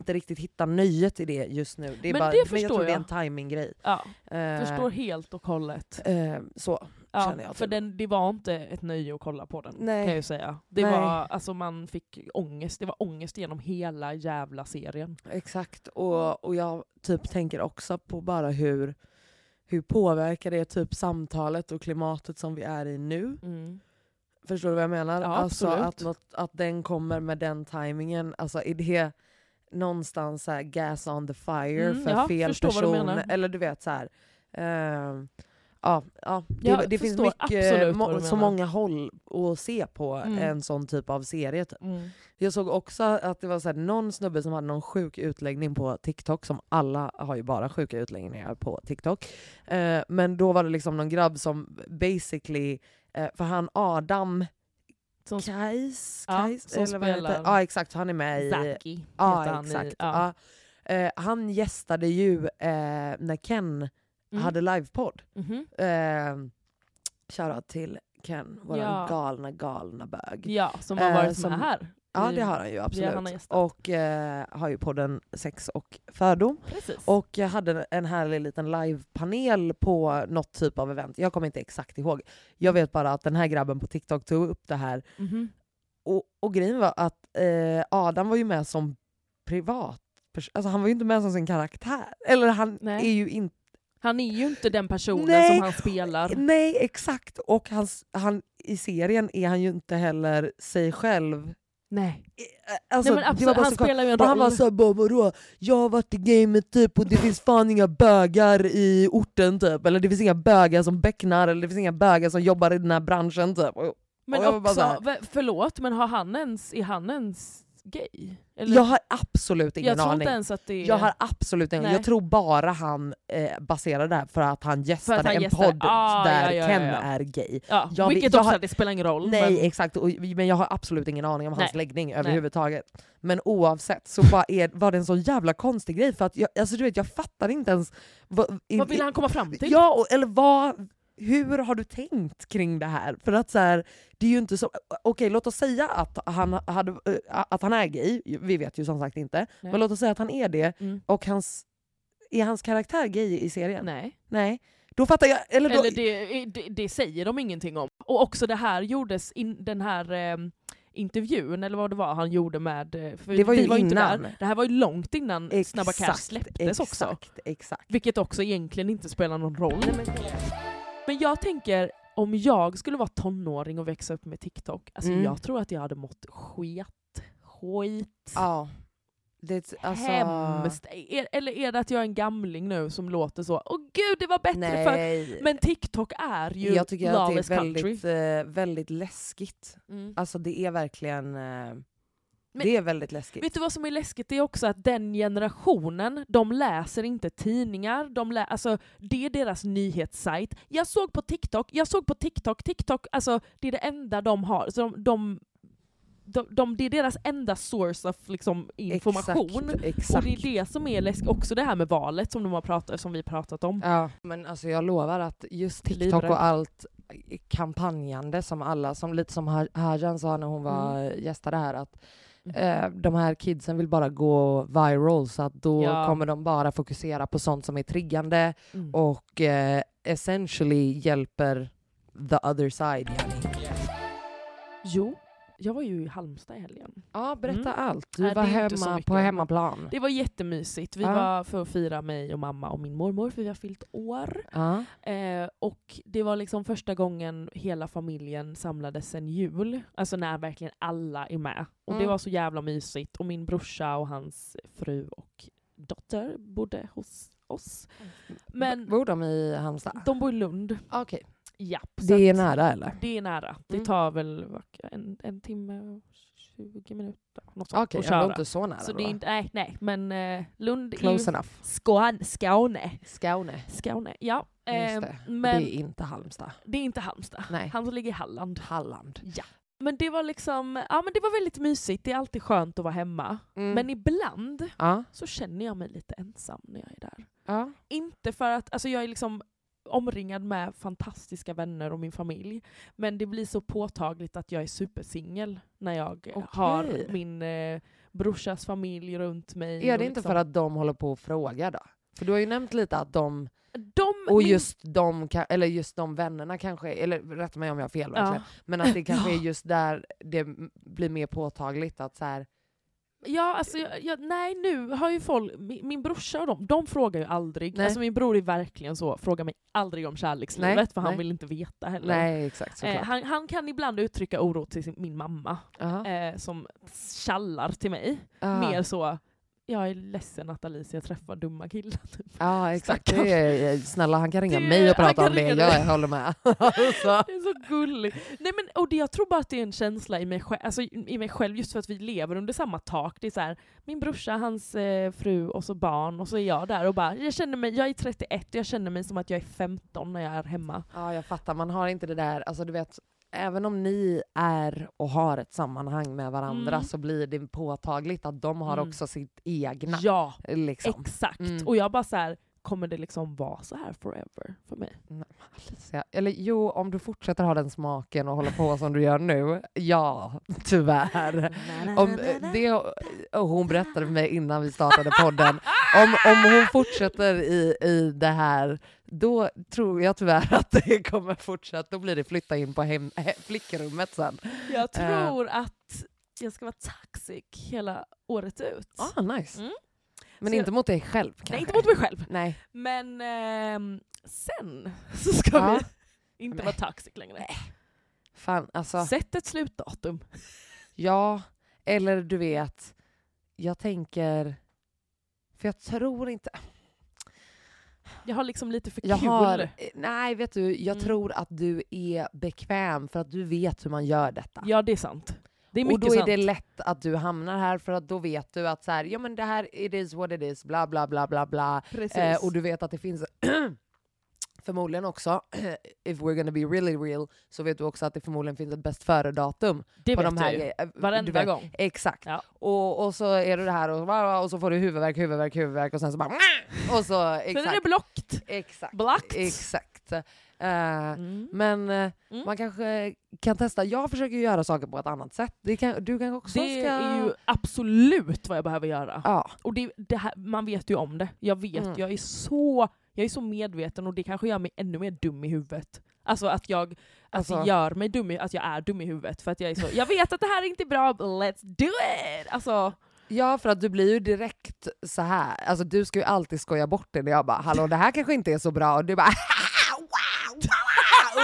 inte riktigt hittar nöjet i det just nu. Det är
Men
bara,
det
men
förstår
jag tror det är
jag.
en timing-grej.
Ja,
Eh,
förstår helt och hållet.
eh, så
Ja,
känner jag.
för
typ.
den, det var inte ett nöje att kolla på den
Nej.
kan jag ju säga. Det
Nej.
var, alltså man fick ångest, det var ångest genom hela jävla serien.
Exakt, och, och jag typ tänker också på bara hur, hur påverkar det typ samtalet och klimatet som vi är i nu? Förstår du vad jag menar?
Ja,
alltså
absolut.
att, något, att den kommer med den timingen, alltså är det någonstans så här gas on the fire
Mm,
för
ja,
fel
förstår vad du
person?
menar.
Eller du vet så här. ehm, ja, ja, det,
Jag
det finns
förstår
mycket,
absolut vad
må,
du
så
menar.
många håll att se på
Mm.
en sån typ av serie. Typ.
Mm.
Jag såg också att det var så här, någon snubbe som hade någon sjuk utläggning på TikTok, som alla har ju bara sjuka utläggningar på TikTok. Eh, men då var det liksom någon grabb som basically, eh, för han Adam
Som
Kajs,
Ja,
Kajs
som
eller vad han heter?
spelar
Ja exakt, han är med i...
Zaki
ja,
heter han i-
exakt.
ja.
ja. Eh, han gästade ju eh, när Ken
Mm.
hade livepodd.
Mhm.
Eh, shoutout till Ken, vår
Ja.
galna galna bög.
Ja, som har
Eh,
varit
som-
med här.
Ja
i-
det har han ju absolut.
han har gästat.
och eh, har ju podden Sex och fördom.
Precis.
Och jag hade en härlig liten livepanel på något typ av event. Jag kommer inte exakt ihåg. Jag vet bara att den här grabben på TikTok tog upp det här.
Mhm.
Och, och grejen var att eh, Adam var ju med som privat. Alltså han var ju inte med som sin karaktär. Eller han
Nej.
är ju inte...
Han är ju inte den personen
Nej.
som han spelar.
Nej exakt! Och hans, han, i serien är han ju inte heller sig själv.
Nej.
Eh, Alltså,
Nej men
det var
absolut,
bara
han
så konstigt.
spelar ju en
Och
roll.
han var såhär bara vadå, jag har varit i gamet typ och det finns fan inga bögar i orten typ, eller det finns inga bögar som becknar, eller det finns inga bögar som jobbar i den här branschen typ. Och och
men
jag var bara
också,
så här-
vä- förlåt, men har han ens, är han ens gay? Eller-
jag har absolut ingen
jag tror
aning.
inte ens att det är...
Jag har absolut ingen aning.
Nej.
Jag tror bara han eh, baserar det här för att han gästade
han
en
gästade.
podd
Ah,
där
ja, ja, ja,
Ken
ja.
är gay.
ja,
jag vet-
vilket
jag
också,
har-
det spelar ingen roll.
Nej
men,
exakt, och, men jag har absolut ingen aning om hans
Nej.
läggning
Nej.
överhuvudtaget. Men oavsett så var, är, var det en sån jävla konstig grej för att jag, alltså, du vet, jag fattar inte ens vad, i-
vad vill han komma fram till?
Ja, och, eller vad, hur har du tänkt kring det här? För att så här, det är ju inte så... Okej, låt oss säga att han, hade, eh, att han är gay, vi vet ju som sagt inte. Men låt oss säga att han är det,
Mm.
och hans, är hans karaktär gay i serien? Nej.
Nej.
Då fattar jag... Eller då,
Eller det, det, det säger de ingenting om. Och också det här gjordes, in, den här eh, intervjun, eller vad det var han gjorde med... eh, För
Det var ju
vi inte
innan.
där. Det här var ju långt innan
Exakt,
Snabba Cash släpptes
exakt,
också.
Exakt.
Vilket också egentligen inte spelar någon roll.
Nej, men,
Men jag tänker, om jag skulle vara tonåring och växa upp med TikTok, alltså
Mm.
jag tror att jag hade mått sket. Skit.
ja. Det, alltså,
Hemskt. Är, eller är det att jag är en gamling nu som låter så, åh gud det var bättre förr.
Nej.
Men TikTok är ju
jag tycker att
love
det är
is country.
väldigt, eh, väldigt läskigt.
Mm.
Alltså det är verkligen... Eh, det är väldigt läskigt.
Vet du vad som är läskigt? Det är också att den generationen, de läser inte tidningar, de lä- alltså, det är deras nyhetssajt. Jag såg på TikTok, jag såg på TikTok, TikTok, alltså det är det enda de har. Så de, de, de, de, det är deras enda source of liksom, information.
Exakt,
Och
exakt.
det är det som är läskigt, också det här med valet som, de har pratat, som vi pratat om.
Ja, men alltså jag lovar att just TikTok
Livrädd.
och allt eh, kampanjande som alla, som lite som Har- Harjan sa när hon var gästade här, att eh, de här kidsen vill bara gå viral så att då
Ja.
kommer de bara fokusera på sånt som är triggande
Mm.
och eh, essentially hjälper the other side. Yani.
Jo, jag var ju i Halmstad i helgen.
Ja, berätta allt. Du
Mm. Nej,
var
det är inte så
hemma
mycket.
på hemmaplan.
Det var jättemysigt. Vi
Ja.
var för att fira mig och mamma och min mormor, för vi har fyllt år.
Ja.
Eh, och det var liksom första gången hela familjen samlades sen jul. Alltså när verkligen alla är med. Och det
Mm.
var så jävla mysigt. Och min brorsa och hans fru och dotter bodde hos oss. Men
Bor de i Halmstad?
de bor i Lund.
Okej.
Japp, så
Det är
att-
nära eller?
Det är nära. Det
Mm.
tar väl vad- en, en timme och 20 minuter något sånt,
Okej, jag
att köra.
bor inte så nära
så
då.
det är inte, nej, nej, men eh, Lund är ju
Close enough.
Skåne. Skåne.
Skåne.
Skåne. Ja.
Just
Eh,
det.
men
det är inte Halmstad.
det är inte Halmstad.
Nej.
Halmstad ligger i Halland.
Halland.
Men det var liksom, ja men det var väldigt mysigt. Det är alltid skönt att vara hemma.
Mm.
Men ibland
ja.
så känner jag mig lite ensam när jag är där.
Ja.
Inte för att, alltså jag är liksom omringad med fantastiska vänner och min familj. Men det blir så påtagligt att jag är supersingel när jag
Okej.
har min eh, brorsas familj runt mig.
Är
och
det inte
liksom-
för att de håller på att fråga då? För du har ju nämnt lite att de,
de,
och
min-
just de, ka- eller just de vännerna kanske, eller rätta mig om jag har fel verkligen,
ja.
men att det kanske
Ja.
är just där det m- blir mer påtagligt att så här,
ja, alltså jag, jag, nej nu har ju folk, min, min brorsa och de, de frågar ju aldrig.
Nej.
Alltså min bror är verkligen så, frågar mig aldrig om kärlekslivet
Nej,
för han
nej.
vill inte veta heller.
nej exakt
Eh,
såklart.
han, han kan ibland uttrycka oro till sin, min mamma
Aha.
eh, som tjallar till mig.
Aha.
Mer så, jag är ledsen att Alicia träffar dumma killar. Typ.
Ja exakt,
Stackarn.
det är, snälla han kan ringa
Det-
mig och
han
prata
kan
om det,
ringa
jag
dig.
håller med. alltså.
Det är så gulligt. Nej, men, och det, jag tror bara att det är en känsla i mig, själv, alltså, i mig själv, just för att vi lever under samma tak. Det är så här, min brorsa, hans eh, fru och så barn och så är jag där och bara, jag känner mig, jag är 31 och jag känner mig som att jag är 15 när jag är hemma.
Ja, jag fattar. Man har inte det där, alltså du vet, även om ni är och har ett sammanhang med varandra
Mm.
så blir det påtagligt att de har
Mm.
också sitt egna.
Ja,
Liksom.
exakt.
Mm.
Och jag bara så här, kommer det liksom vara så här forever för mig?
Alicia, Eller jo, om du fortsätter ha den smaken och hålla på som du gör nu, ja, tyvärr. Om, eh, det, och hon berättade för mig innan vi startade podden, om, om hon fortsätter i, i det här, då tror jag tyvärr att det kommer fortsätta. Då blir det flytta in på hem, he, flickrummet sen.
Jag
Eh.
tror att jag ska vara toxic hela året ut.
Ah, nice.
Mm.
Men
Så jag-
inte mot dig själv kanske?
Nej, inte mot mig själv.
Nej.
Men ehm, sen så ska
Ja.
vi inte
Men-
vara toxic längre.
Fan, alltså.
Sätt ett slutdatum.
Ja, eller du vet, jag tänker... För jag tror inte...
Jag har liksom lite för
Jag
kul.
har, eh, nej, vet du, jag
Mm.
tror att du är bekväm för att du vet hur man gör detta.
Ja, det är sant. Det är
och
mycket
då är
sant.
det lätt att du hamnar här för att då vet du att så här, ja men det här, it is what it is, bla bla bla bla bla.
Precis.
Eh, och du vet att det finns förmodligen också, if we're gonna be really real, så vet du också att det förmodligen finns ett bäst före-datum
det
på
vet
de här
jag ju.
grejerna.
Varenda
Du vet,
gång.
Exakt.
Ja.
Och, och så är du det här och, va, va, och så får du huvudvärk, huvudvärk, huvudvärk och sen så bara... Och så, exakt.
Sen är det blockt.
exakt.
Blackt.
Exakt. Eh,
Mm.
Men eh,
Mm.
man kanske kan testa. Jag försöker ju göra saker på ett annat sätt. Det kan, du kanske också
Det
ska...
är ju absolut vad jag behöver göra.
Ja.
Och det, det här, man vet ju om det. Jag vet,
Mm.
jag, är så, jag är så medveten och det kanske gör mig ännu mer dum i huvudet. Alltså att jag att
Alltså-
det gör mig dum i, att jag är dum i huvudet för att jag är så, jag vet att det här är inte bra, but let's do it! Alltså,
ja, för att du blir ju direkt så här. Alltså du ska ju alltid skoja bort det när jag bara “Hallå, det här kanske inte är så bra” och du bara wow, wow.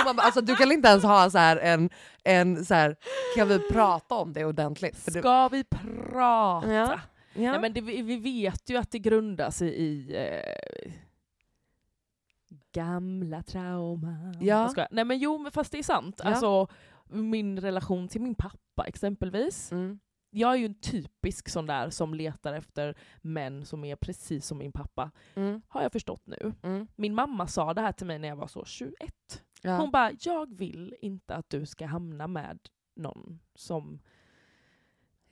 Och man bara, Alltså du kan inte ens ha så här en, en så här, kan vi prata om det ordentligt? För du,
ska vi prata?
Ja. Ja.
Nej, men det, vi vi vet ju att det grundas i, i eh, gamla trauman.
Ja.
Jag skojar. Nej men jo, men fast det är sant.
Ja.
Alltså, min relation till min pappa exempelvis.
Mm.
jag är ju en typisk sån där som letar efter män som är precis som min pappa,
Mm.
har jag förstått nu.
Mm.
Min mamma sa det här till mig när jag var så 21.
Ja.
Hon bara, jag vill inte att du ska hamna med någon som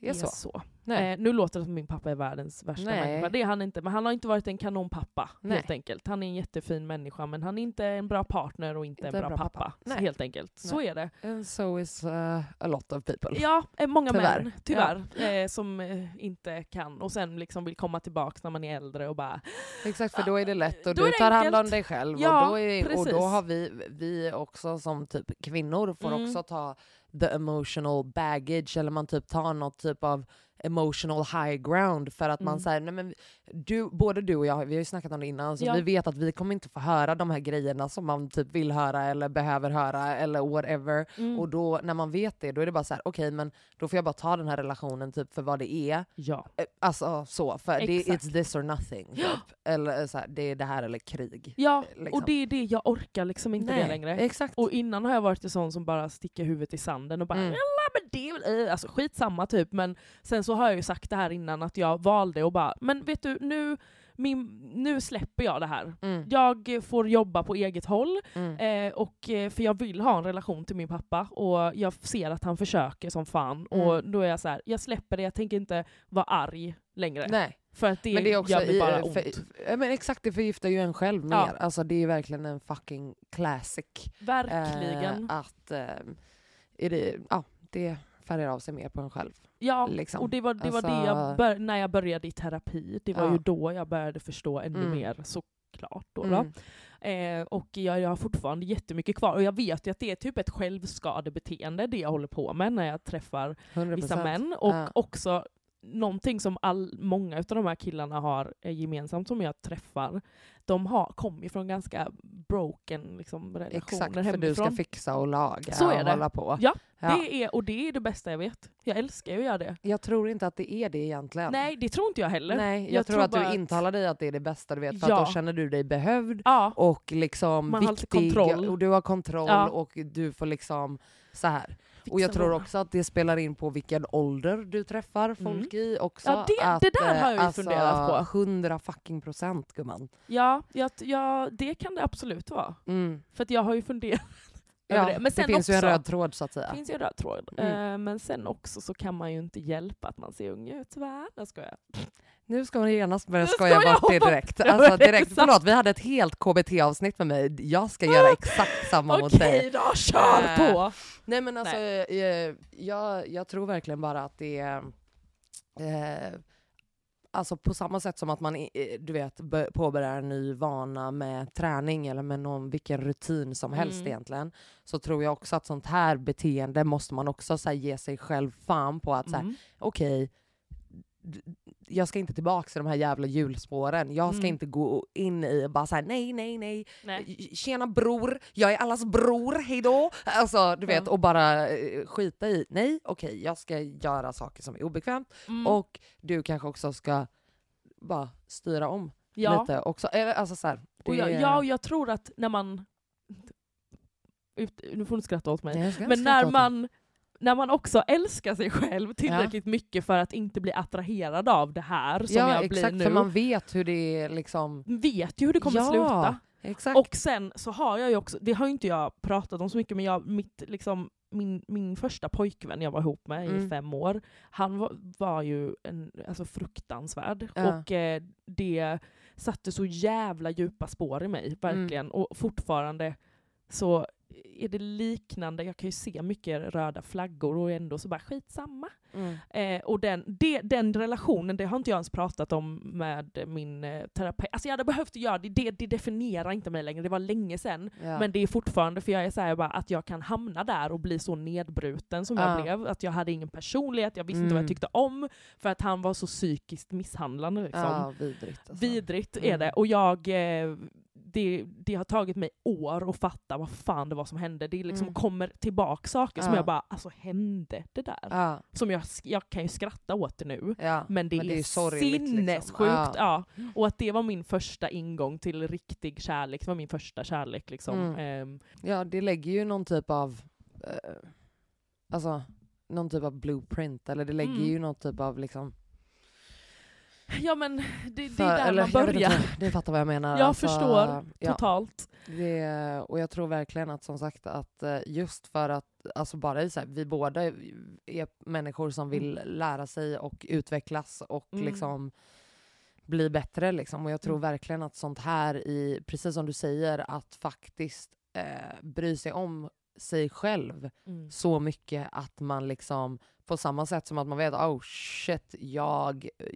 är så. Nej.
Eh, nu låter det som min pappa är världens värsta
Nej.
människa, det är han inte. Men han har inte varit en kanonpappa
Nej.
helt enkelt. Han är en jättefin människa men han är inte en bra partner och inte, en bra, pappa. Så
Nej.
Helt enkelt. Så är det.
And so is uh, a lot of people.
Ja, eh, många
Tyvärr.
män tyvärr eh, som eh, inte kan och sen liksom vill komma tillbaka när man är äldre och bara
Exakt, för då är det lätt och
Då är
du
det
tar hand om
enkelt.
dig själv.
Ja,
och, då är, och
precis.
då har vi, vi också som typ kvinnor får
Mm.
också ta the emotional baggage eller man typ tar något typ av eh, emotional high ground för att man
Mm.
säger nej men du, både du och jag, vi har ju snackat om det innan, så
Ja.
vi vet att vi kommer inte få höra de här grejerna som man typ vill höra eller behöver höra eller whatever.
Mm.
Och då när man vet det, då är det bara så här: okej men då får jag bara ta den här relationen typ för vad det är.
ja.
Eh, Alltså så, för det,
Exakt.
it's this or nothing. Typ. Eller så här, det är det här eller krig.
ja.
liksom. eh,
och det är det jag orkar liksom inte det längre.
Exakt.
Och innan har jag varit en sån som bara sticker huvudet i sanden och bara
Mm.
mm. men det är väl, eh", alltså skitsamma typ. Men sen så har jag ju sagt det här innan att jag valde och bara, men vet du nu, min, nu släpper jag det här.
Mm,
Jag får jobba på eget håll,
mm,
eh, och, eh, för jag vill ha en relation till min pappa och jag ser att han försöker som fan.
Mm.
Och då är jag så här, jag släpper det, jag tänker inte vara arg längre.
Nej,
För att det,
men det är också
gör mig
i,
bara
eh,
ont.
för, ja, men Exakt, det förgiftar ju en själv mer.
Ja.
Alltså det är ju verkligen en fucking classic.
Verkligen.
Eh, att eh, är det, ja, det färgar av sig mer på en själv.
ja,
liksom.
och det var, det, var det
Alltså-
jag bör, när jag började i terapi. Det var
Ja.
ju då jag började förstå ännu
Mm.
mer såklart. Då,
Mm.
då. Eh, och jag, jag har fortfarande jättemycket kvar. Och jag vet ju att det är typ ett självskadebeteende det jag håller på med när jag träffar
100%.
vissa män. Och
Ja.
också någonting som all, många av de här killarna har eh, gemensamt som jag träffar, de har, kommer ju från ganska broken liksom, relationer
Exakt, för
hemifrån.
du ska fixa och laga
Så är
och
det.
hålla på.
Ja,
Ja.
Det är, och det är det bästa jag vet. Jag älskar ju att göra det.
Jag tror inte att det är det egentligen.
Nej, det tror inte jag heller.
Nej, jag,
jag
tror,
tror
att du
bara att-
intalar dig att det är det bästa du vet, för
Ja.
att då känner du dig behövd
Ja,
och liksom
Man har lite
viktig
kontroll.
och du har kontroll
Ja.
och du får liksom så här. Och jag tror också att det spelar in på vilken ålder du träffar folk i också.
Mm. Ja, det-
att,
det där har jag ju
eh, alltså,
funderat på.
100 fucking procent gumman.
Ja, jag, ja, det kan det absolut vara.
Mm.
För att jag har ju funderat
Ja,
över det. Men sen
det finns
också,
ju en röd tråd så att säga.
finns ju en röd tråd.
Mm.
Eh, men sen också så kan man ju inte hjälpa att man ser ung ut tyvärr. Jag skojar.
Nu ska hon genast börja
Nu ska
skoja
jag
bort det
hoppa
direkt.
över
Alltså
det,
direkt.
exakt.
Förlåt, vi hade ett helt KBT-avsnitt med mig. Jag ska göra exakt samma mot dig.
Ah! Okej då, kör
Eh,
på!
Nej men alltså, eh, jag, jag tror verkligen bara att det är... Eh, alltså på samma sätt som att man i- eh, du vet, bö- påbörjar en ny vana med träning eller med någon, vilken rutin som helst
Mm.
egentligen, så tror jag också att sånt här beteende måste man också så här, ge sig själv fan på att så här,
Mm.
okej, d- jag ska inte tillbaka till de här jävla hjulspåren. Jag ska
Mm.
inte gå in i och bara såhär nej, nej, nej,
Nej.
Tjena bror, jag är allas bror, hejdå! Alltså du vet,
Ja.
och bara eh, skita i, nej okej jag ska göra saker som är obekvämt
Mm.
och du kanske också ska bara styra om
ja.
lite också. Eller, Alltså så här,
Och
det
jag,
är-
ja, och jag tror att när man... Ut, nu får du inte skratta åt mig.
Nej, jag ska inte
Men
skratta
när
åt
man, när man också älskar sig själv tillräckligt mycket för att inte bli attraherad av det här
det.
som
ja,
jag
exakt,
blir nu,
för man vet hur det är liksom.
vet ju hur det kommer
Ja,
sluta.
Exakt.
Och sen så har jag ju också, det har ju inte jag pratat om så mycket, men jag, mitt, liksom, min, min första pojkvän jag var ihop med
Mm.
i fem år, han var, var ju en, alltså fruktansvärd.
Ja.
Och eh, det satte så jävla djupa spår i
Mm.
mig, verkligen. Och fortfarande så är det liknande, jag kan ju se mycket röda flaggor och ändå så bara skitsamma.
mm.
Eh, och den, det, den relationen, det har inte jag ens pratat om med min eh, terapeut. Alltså jag hade behövt göra det, det, det definierar inte mig längre, det var länge sedan.
ja.
Men det är fortfarande, för jag är såhär bara, att jag kan hamna där och bli så nedbruten som
Ja.
jag blev. Att jag hade ingen personlighet, jag visste inte vad
Mm.
jag tyckte om, för att han var så psykiskt misshandlande liksom.
ja, vidrigt. Alltså.
Vidrigt är
Mm.
det. Och jag, eh, det, det har tagit mig år att fatta vad fan det var som hände. Det liksom
Mm.
kommer tillbaka saker som
Ja.
jag bara, alltså hände det där?
Ja,
som jag, jag kan ju skratta åt det nu,
ja.
men det,
Men det är
är,
ju sorgligt, liksom.
sinnessjukt.
Ja.
Ja. Och att det var min första ingång till riktig kärlek, det var min första kärlek. Liksom.
Mm.
Ehm,
Ja, det lägger ju någon typ av eh, alltså, någon typ av blueprint, eller det lägger
Mm.
ju någon typ av liksom...
ja men det, det
för-
är där
eller,
man
jag vet
börjar
Inte, du fattar vad jag menar. Alltså,
Jag förstår
Ja,
totalt.
det, och jag tror verkligen att som sagt att eh, just för att alltså bara i så här, vi båda är människor som vill lära sig och utvecklas och
Mm.
liksom bli bättre liksom. Och jag tror
Mm.
verkligen att sånt här i, precis som du säger, att faktiskt eh, bry sig om sig själv
Mm.
så mycket att man liksom på samma sätt som att man vet oh shit, jag eh,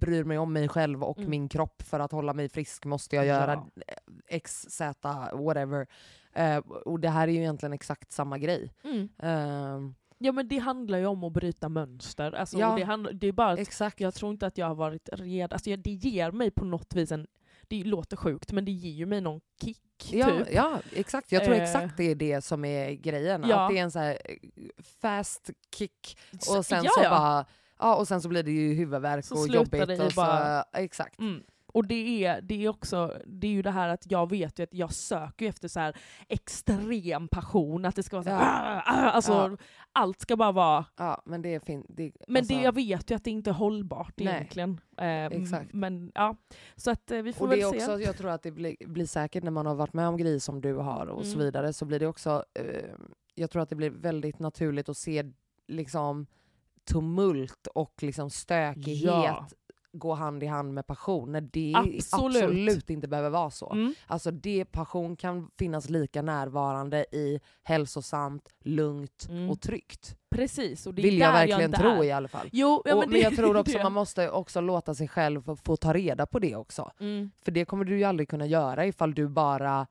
bryr mig om mig själv och
Mm.
min kropp för att hålla mig frisk måste jag göra eh,
Ja.
x, z, whatever. Eh, och det här är ju egentligen exakt samma grej.
Mm.
Eh,
Ja men det handlar ju om att bryta mönster. Alltså,
Ja.
och det, handlar, det är bara att
Exakt.
jag tror inte att jag har varit redo. Alltså, jag, det ger mig på något vis en... Det låter sjukt men det ger ju mig någon kick.
Ja,
typ.
ja, exakt. Jag tror
Eh.
exakt det är det som är grejen.
Ja.
Att det är en så här eh, fast kick
Så-
och sen
ja,
så
ja.
bara... Ja, och sen så blir det ju huvudvärk
Så
och
slutar
jobbigt.
det i
och så,
bara-
Exakt.
Mm. Och det är, det är också, det är ju det här att jag vet ju att jag söker ju efter så här extrem passion, att det ska vara så här, "Ah, ah", alltså
Ja.
allt ska bara vara,
Ja, men det är fint. Det,
men
alltså-
det, jag vet ju att det inte är hållbart
Nej.
egentligen. Eh, m-
Exakt.
Men ja, så att eh, vi får
Och
väl
det är
se.
också, jag tror att det blir, blir säkert när man har varit med om grejer som du har och så
Mm.
vidare, så blir det också, eh, jag tror att det blir väldigt naturligt att se liksom tumult och liksom stökighet
Ja.
gå hand i hand med passion, när det absolut,
Absolut.
inte behöver vara så.
Mm.
Alltså det, passion kan finnas lika närvarande i hälsosamt, lugnt
Mm.
och tryggt.
Precis, och det är
Vill jag
där
verkligen
inte
tro
är.
i alla fall.
Jo, ja,
och,
men,
men,
det-
jag tror
det-
också man måste också låta sig själv få- få ta reda på det också.
Mm.
För det kommer du ju aldrig kunna göra ifall du bara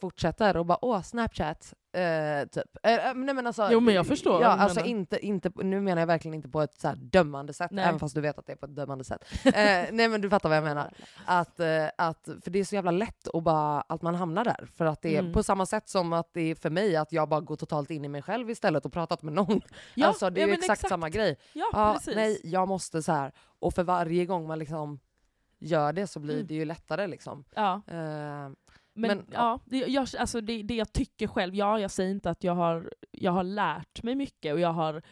fortsätter och bara åh Snapchat, eh, typ. Eh, eh, nej men alltså,
Jo, men jag förstår vad
Ja,
du
alltså
menar.
inte, inte, nu menar jag verkligen inte på ett så här dömande sätt,
Nej.
även fast du vet att det är på ett dömande sätt. Eh, nej men du fattar vad jag menar. Att, eh, att, för det är så jävla lätt att, bara, att man hamnar där. För att det är
Mm.
på samma sätt som att det är för mig att jag bara går totalt in i mig själv istället och pratat med någon.
Ja,
alltså det är
ja,
ju
men
exakt,
exakt.
samma grej.
Ja,
Ja,
precis.
nej, jag måste så här. Och för varje gång man liksom gör det så blir
Mm.
det ju lättare liksom.
Ja.
Eh,
Men,
Men, ja.
ja, det, jag, alltså det, det jag tycker själv, ja jag säger inte att jag har, jag har lärt mig mycket och jag har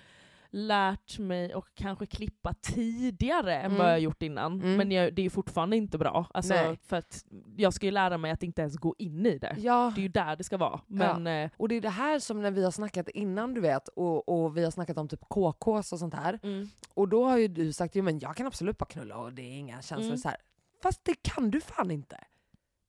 lärt mig och kanske klippa tidigare än
Mm.
vad jag gjort innan.
Mm.
Men jag, det är fortfarande inte bra. Alltså,
Nej.
för att jag ska ju lära mig att inte ens gå in i det.
ja,
Det är ju där det ska vara. Men eh,
och det är det här som när vi har snackat innan du vet, och, och vi har snackat om typ KKs och sånt här.
mm,
Och då har ju du sagt jo men jag kan absolut bara knulla och det är inga känslor
Mm.
så här. Fast det kan du fan inte.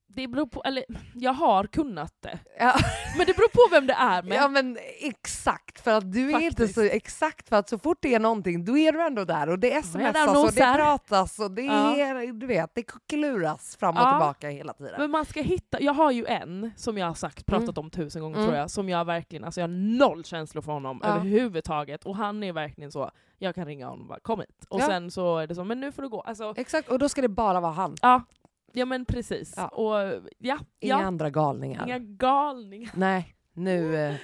det beror på, eller jag har kunnat det.
Ja,
Men det beror på vem det är med.
ja men exakt, för att du är inte
Faktiskt.
så exakt för att så fort det är någonting då är du ändå där och det
jag är
smsas
där och
och det
nosar.
pratas och det
Ja.
är, du vet, det kluras fram och
Ja.
tillbaka hela tiden.
Men man ska hitta, jag har ju en som jag har sagt, pratat om tusen gånger
Mm.
tror jag, som jag verkligen, alltså jag har noll känslor för honom
Ja.
överhuvudtaget. Och han är verkligen så, jag kan ringa honom och bara kom hit. Och
Ja.
sen så är det så, men nu får du gå. Alltså,
Exakt, och då ska det bara vara han.
ja, ja men precis.
Ja.
Och ja,
Inga
ja,
andra galningar.
inga galningar.
Nej, nu... eh,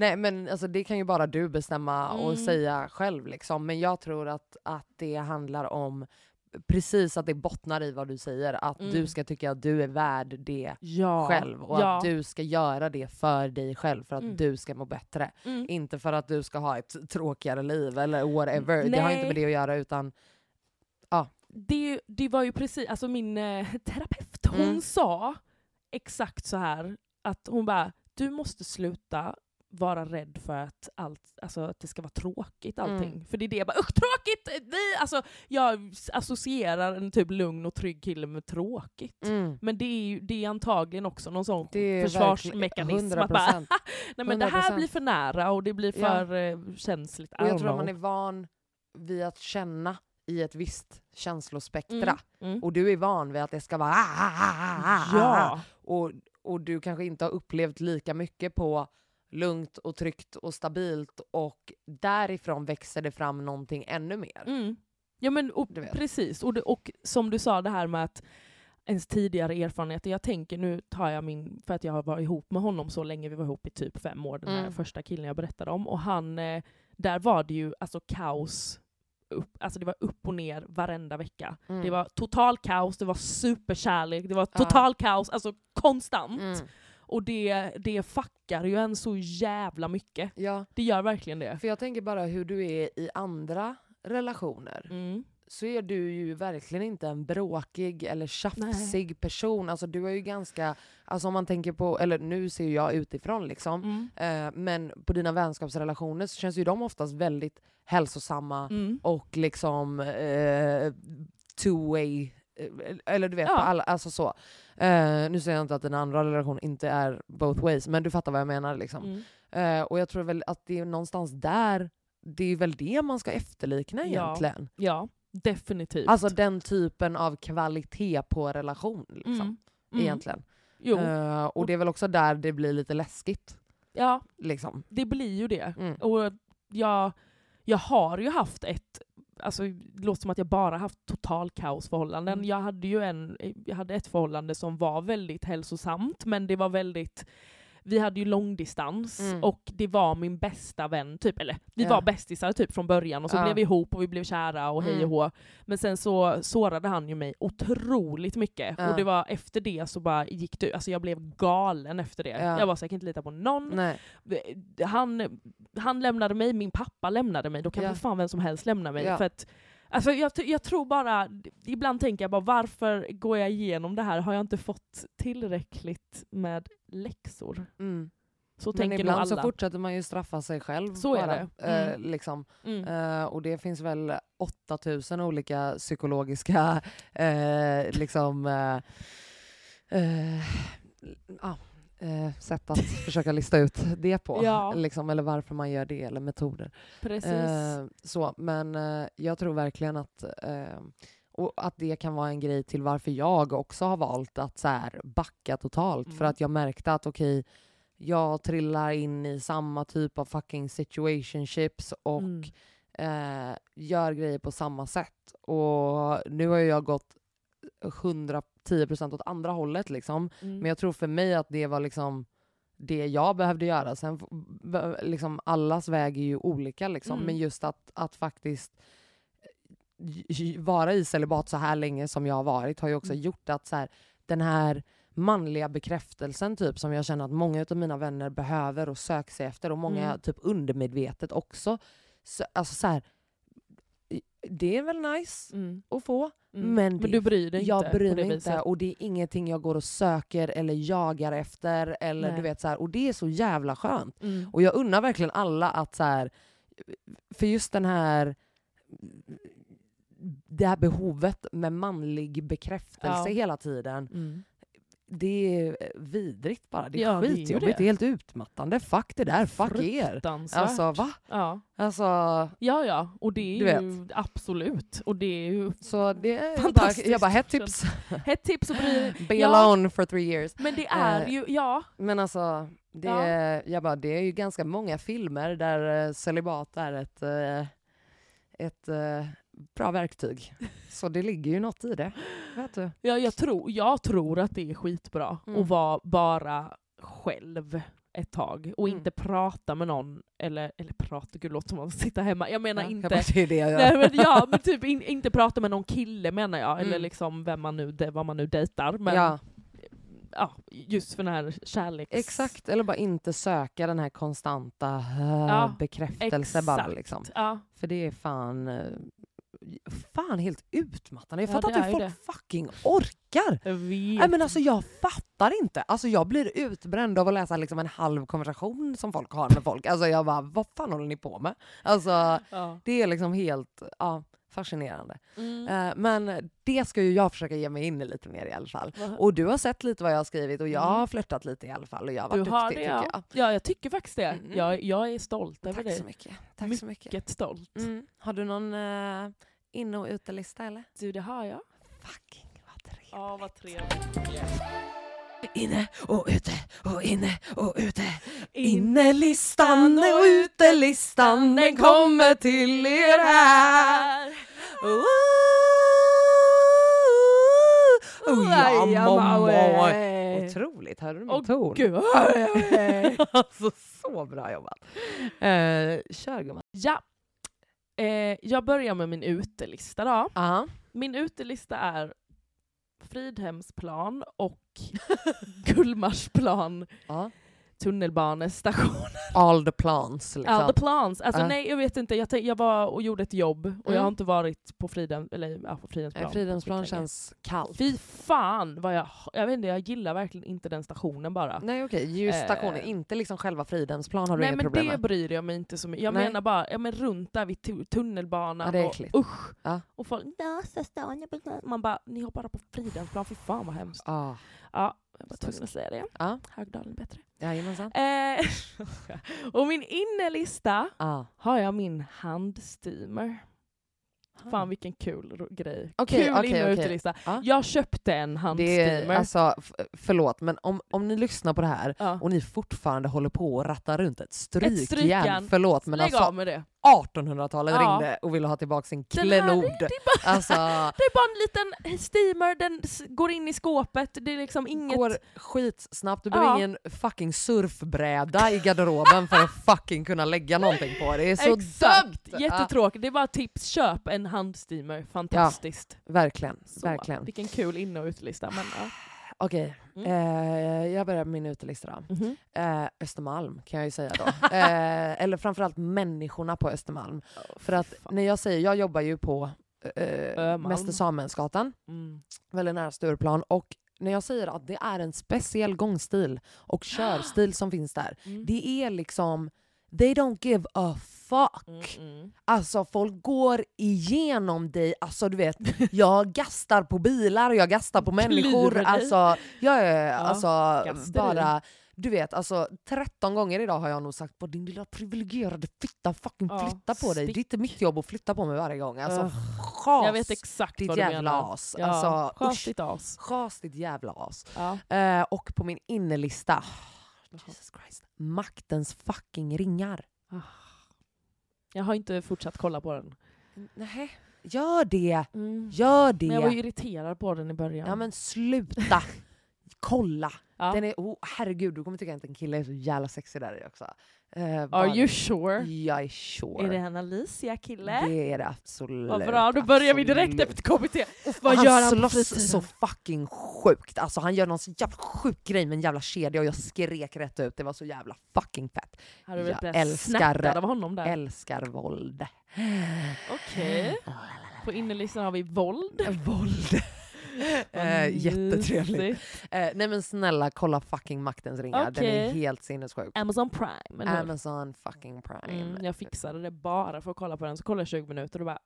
Nej men alltså det kan ju bara du bestämma och
Mm.
säga själv liksom. Men jag tror att, att det handlar om precis att det bottnar i vad du säger. Att
Mm.
du ska tycka att du är värd det
Ja.
själv och
ja.
att du ska göra det för dig själv för att
Mm.
du ska må bättre.
Mm.
Inte för att du ska ha ett tråkigare liv eller whatever. Det har inte
Nej.
med det att göra utan
det, det var ju precis, alltså min eh, terapeut hon
Mm.
sa exakt så här att hon bara du måste sluta vara rädd för att, allt, alltså, att det ska vara tråkigt allting.
Mm.
För det är det jag bara usch tråkigt! eh, Nej! Alltså, jag s- associerar en typ lugn och trygg kille med tråkigt.
mm,
Men det är, ju, det är antagligen också någon sån
det är
försvarsmekanism.
verkligen
Att bara,
100%.
Nej, men det här
100%.
blir för nära och det blir
Ja.
för eh, känsligt. I
Och jag
don't
tror att man är
know.
van vid att känna i ett visst känslospektra.
Mm, mm.
Och du är van vid att det ska vara ah, ah, ah, ah, ah, ah.
Ja,
och, och du kanske inte har upplevt lika mycket på lugnt och tryggt och stabilt och därifrån växer det fram någonting ännu mer.
Mm. Ja men och,
Du vet.
precis, och, det, och som du sa det här med att ens tidigare erfarenheter, jag tänker nu tar jag min, för att jag har varit ihop med honom så länge, vi var ihop i typ fem år, den här
Mm.
första killen jag berättade om, och han, eh, där var det ju alltså kaos, upp, alltså det var upp och ner varenda vecka.
Mm.
Det var total kaos, det var superkärlek, det var
Ja.
total kaos, alltså konstant.
Mm.
Och det, det fuckar ju en så jävla mycket.
Ja,
Det gör verkligen det.
för jag tänker bara hur du är i andra relationer
Mm.
så är du ju verkligen inte en bråkig eller tjafsig person. Alltså du är ju ganska, alltså om man tänker på, eller nu ser ju jag utifrån liksom,
Mm.
eh, men på dina vänskapsrelationer så känns ju de oftast väldigt hälsosamma,
Mm.
och liksom eh, two-way, eh, eller du vet,
Ja.
på alla, alltså så. Eh, nu säger jag inte att den andra relationen inte är both ways, men du fattar vad jag menar. Liksom.
Mm.
Eh, och jag tror väl att det är någonstans där, det är väl det man ska efterlikna
Ja.
egentligen.
Ja, definitivt.
Alltså den typen av kvalitet på relation. Liksom,
Mm. Mm.
Egentligen.
Jo,
Eh, och det är väl också där det blir lite läskigt.
ja
Liksom.
det blir ju det.
Mm.
Och jag, jag har ju haft ett, alltså det låter som att jag bara haft total kaosförhållanden.
Mm.
Jag hade ju en, jag hade ett förhållande som var väldigt hälsosamt, men det var väldigt vi hade ju långdistans
Mm.
och det var min bästa vän, typ, eller vi
Ja.
var bästisar typ från början och så
Ja.
blev vi ihop och vi blev kära och hej
Mm.
och hå. Men sen så sårade han ju mig otroligt mycket
Ja.
och det var efter det så bara gick du, alltså jag blev galen efter det.
Ja.
Jag var säkert inte lita på någon,
Nej.
eh, han, han lämnade mig, min pappa lämnade mig, då kan
Ja.
för fan vem som helst lämna mig.
Ja.
För att, alltså jag, t- jag tror bara, ibland tänker jag bara varför går jag igenom det här? Har jag inte fått tillräckligt med läxor?
Mm.
Så
Men
tänker nog alla.
ibland så fortsätter man ju straffa sig själv.
Så är
bara.
det.
Eh,
Mm.
liksom.
mm.
Eh, och det finns väl 8000 olika psykologiska eh, liksom, eh, eh, ja, eh, sätt att försöka lista ut det på.
Ja.
Liksom, eller varför man gör det, eller metoder.
Precis.
Eh, så, men eh, jag tror verkligen att, eh, och att det kan vara en grej till varför jag också har valt att så här, backa totalt. För
Mm.
att jag märkte att okej, jag trillar in i samma typ av fucking situationships och
Mm.
eh, gör grejer på samma sätt. Och nu har ju jag gått 110% åt andra hållet liksom.
Mm.
Men jag tror för mig att det var liksom det jag behövde göra. Sen f- be- liksom allas väg är ju olika liksom.
Mm.
Men just att, att faktiskt eh, j- j- vara i celibat så här länge som jag har varit har ju också
Mm.
gjort att så här, den här manliga bekräftelsen typ som jag känner att många av mina vänner behöver och söker sig efter och många
Mm.
typ undermedvetet också. Så, alltså så här, i- det är väl nice
Mm.
att få. men
Mm. Men
det-
du bryr dig
Jag
inte på
bryr
det
mig
viset.
inte och det är ingenting jag går och söker eller jagar efter. Eller
Nej.
du vet så här, och det är så jävla skönt.
Mm.
Och jag unnar verkligen alla att så här, för just den här det här behovet med manlig bekräftelse
Ja.
hela tiden.
Mm.
Det är vidrigt bara. Det är
Ja, det är ju
skitjobbigt. Det.
det.
är helt utmattande. Fuck det där. Fuck er.
Fruktansvärt.
Alltså va?
Ja.
Alltså,
ja, ja. Och det är
Du vet.
ju absolut. Och det är ju
så det är jag bara,
Fantastiskt.
jag bara hett tips.
ett tips att bry dig.
Be
Ja.
alone for three years.
Men det är
Eh,
ju, ja.
Men alltså, det,
Ja.
jag bara, det är ju ganska många filmer där eh, celibat är ett, eh, ett eh, bra verktyg. Så det ligger ju något i det. Vet du?
Ja, jag, tror, jag tror att det är skitbra
Mm.
att vara bara själv ett tag och
Mm.
inte prata med någon, eller, eller prata, gud låter som att sitta hemma. Jag menar
Ja,
inte...
Jag bara, det är det jag gör.
Nej, men, ja, men typ in, inte prata med någon kille menar jag, eller
Mm.
liksom vem man nu, de- vad man nu dejtar. Men ja.
ja,
just för den här kärleks...
exakt, eller bara inte söka den här konstanta eh,
Ja,
bekräftelsen bara.
exakt.
Liksom.
Ja,
För det är fan, eh, fan helt utmattande. Jag
Ja,
fattar
det
inte
är
hur
ju
folk fucking orkar.
jag vet.
Nej men alltså jag fattar inte. Alltså jag blir utbränd av att läsa liksom en halv konversation som folk har med folk. Alltså jag bara, vad fan håller ni på med? Alltså
ja.
det är liksom helt ja, fascinerande.
Mm.
Eh, men det ska ju jag försöka ge mig in i lite mer i alla fall.
Vad-
Och du har sett lite vad jag har skrivit och jag
Mm.
har flörtat lite i alla fall och jag har
Du
varit
har
duktig
det
tycker
ja. Ja, jag tycker faktiskt det.
Mm.
Jag, jag är stolt
jag.
över
Tack så
dig.
mycket. Tack så mycket.
Mycket stolt.
Mm. Har du någon eh, inne och utelista eller?
Du, det har jag.
Fucking vad trevligt.
Ja, vad trevligt.
Inne och ute och inne och ute. Innelistan och utelistan den kommer till er här. Ooh. Oh, ja, mamma. oj. Otroligt, hörde du min
Åh,
ton?
Gud.
alltså så bra jobbat. Eh, kör gumman.
Ja. Eh, jag börjar med min utelista då.
Ja.
Min utelista är Fridhemsplan och Gullmarsplan,
Ja.
tunnelbanestation.
All the plans liksom.
Ja, the plans. Alltså
Ja.
nej, jag vet inte. Jag, tänk- jag var och gjorde ett jobb och jag
Mm.
har inte varit på Fridhem, eller ja, på Fridhemsplan.
Eh, Fridhemsplan
på länge.
känns kallt.
Fy fan vad jag... Jag vet inte, jag gillar verkligen inte den stationen bara.
Nej okej, just stationen.
Eh.
Inte liksom själva Fridhemsplan har du
Nej
inget
men
problem
det
med.
bryr jag mig inte så mycket. Jag
Nej.
menar bara, ja, men runt där vid tu- tunnelbanan.
Ja, det är äckligt.
och, usch!
Ja.
Och folk, "Ja, så stan, jag blir-" man bara, ni har bara på Fridhemsplan, fy fan vad hemskt.
Ah,
Ja, jag var tvungen att säga det.
Ja.
Högdalen är bättre.
jajamensan.
Eh, och min innelista
Ah.
har jag min handsteamer. Fan vilken kul ro- grej.
Ah. Okej,
kul
okej,
in och
okej.
utelista.
Ja.
Jag köpte en
Det är,
handsteamer.
alltså, f- förlåt, men om, om ni lyssnar på det här
ja.
och ni fortfarande håller på och rattar runt ett strykjärn,
strykjärn.
förlåt men
Lägg
alltså
av med det.
1800-talet
Ja.
ringde och ville ha tillbaka sin
Den här-
klenod.
det, är bara,
Alltså,
det är bara en liten steamer, den s- går in i skåpet, det är liksom inget...
går skitsnabbt, du behöver
Ja.
ingen fucking surfbräda i garderoben för att fucking kunna lägga någonting på. Det är så
Exakt!
dumt!
Jättetråkigt, det är bara ett tips. Köp en handsteamer, fantastiskt.
Ja, verkligen,
Så,
verkligen.
Vilken kul in och utelista. Men, ja.
Okej,
Mm.
eh, jag börjar med min utelista då. Eh, Östermalm kan jag ju säga då. eh, eller framförallt människorna på Östermalm. För att
fan.
när jag säger, jag jobbar ju på eh,
Ömalm.
Mäster Samuelsgatan,
Mm.
väldigt nära Stureplan. Och när jag säger att det är en speciell gångstil och körstil som finns där.
Mm.
Det är liksom, they don't give a fuck.
Mm, mm.
Alltså folk går igenom dig, alltså du vet, jag gastar på bilar och jag gastar på
Klyver
människor.
dig.
Alltså, jag är, alltså
gasteri.
bara, du vet, alltså 13 gånger idag har jag nog sagt på din lilla privilegierade fitta, fucking
Ja,
flytta på dig.
stick.
Det är inte mitt jobb att flytta på mig varje gång. Alltså
Ugh.
schas
Jag vet exakt
ditt
vad du
jävla
menar.
as.
Ja,
Alltså
skönt
usch,
ditt as.
schas ditt jävla as.
Ja.
Eh, och på min innerlista, Jesus Christ, maktens fucking ringar.
Jag har inte fortsatt kolla på den.
Nej. Gör det,
Mm.
gör det.
Men jag var ju irriterad på den i början.
Ja men sluta! Kolla!
Ja.
Den är, oh, herregud, du kommer tycka att en kille är så jävla sexig där i också. Eh, bara-
Are you sure?
Jag är sure.
Är det en Alicia-kille?
Det är det absolut.
Vad bra, då börjar vi direkt
absolut.
efter kommitté.
Och
Vad
han
gör han på
slåss så
fritiden?
fucking sjukt. Alltså han gör någon så jävla sjuk grej med en jävla kedja och jag skrek rätt ut. Det var så jävla fucking fett.
Har du blivit
Jag
där
älskar-
snattad av honom där?
Älskar våld.
Okej. Eh, På innerlistan har vi våld.
Våld. eh, jättetrevligt.
Mysigt.
Eh, nej men snälla kolla fucking maktens ringar. Den är
Okej.
helt sinnessjuk.
Amazon Prime. eller hur?
Amazon fucking prime.
Mm, jag fixade det bara för att kolla på den, så kollade jag 20 minuter och bara...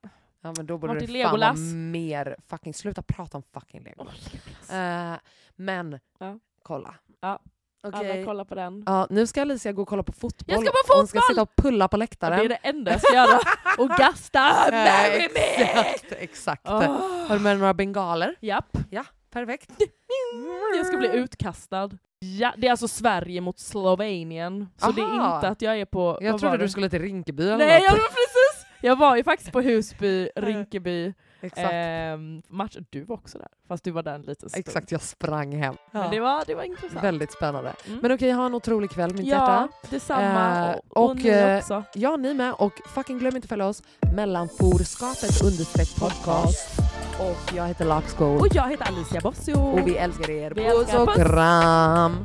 Ja men då borde det
Martin
fan vara
Legolas.
mer fucking, sluta prata om fucking
Åh,
Legolas.
Legolas.
Eh, men,
Ja.
kolla.
Ja.
Okej.
Alla kollar på den.
Ja, nu ska Alicia gå och kolla på fotboll.
Jag ska på
Hon ska
fotboll!
sitta och pulla på
Ja,
läktaren.
det är det enda jag ska göra. Ah, Och gasta!
Eh,
Marry me!
Exakt, exakt.
Åh.
Har du Mm. med dig några bengaler?
Japp.
Perfekt.
Jag ska bli utkastad. Ja, det är alltså Sverige mot Slovenien. Så det
Aha.
är inte att jag är på...
Jag
vad
trodde
var det?
du skulle till Rinkeby eller
Nej,
något.
jag var precis! Jag var ju faktiskt på Husby, Rinkeby,
Exakt.
ehm, match. Du var också där, fast du var där en liten stund.
exakt, jag sprang hem.
Men det var, det var intressant.
Väldigt spännande.
Mm.
Men okej, ha en otrolig kväll mitt hjärta.
ja, detsamma.
Eh,
och,
och,
och ni
eh,
också.
Ja, ni med. Och fucking glöm inte att följa oss. Mellanforskapet understreck podcast. Och jag heter Larpskog.
Och jag heter Alicia Bossio.
Och vi älskar er.
Vi älskar-
Puss och
puss.
kram!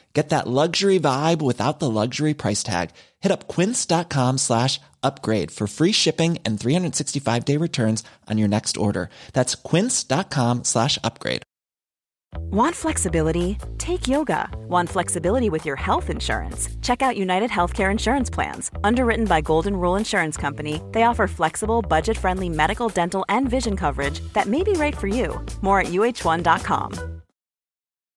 Get that luxury vibe without the luxury price tag. Hit up quince.com slash upgrade for free shipping and 365 day returns on your next order. That's quince.com slash upgrade.
Want flexibility? Take yoga. Want flexibility with your health insurance? Check out United Healthcare Insurance Plans. Underwritten by Golden Rule Insurance Company, they offer flexible, budget friendly medical, dental, and vision coverage that may be right for you. More at uh1.com.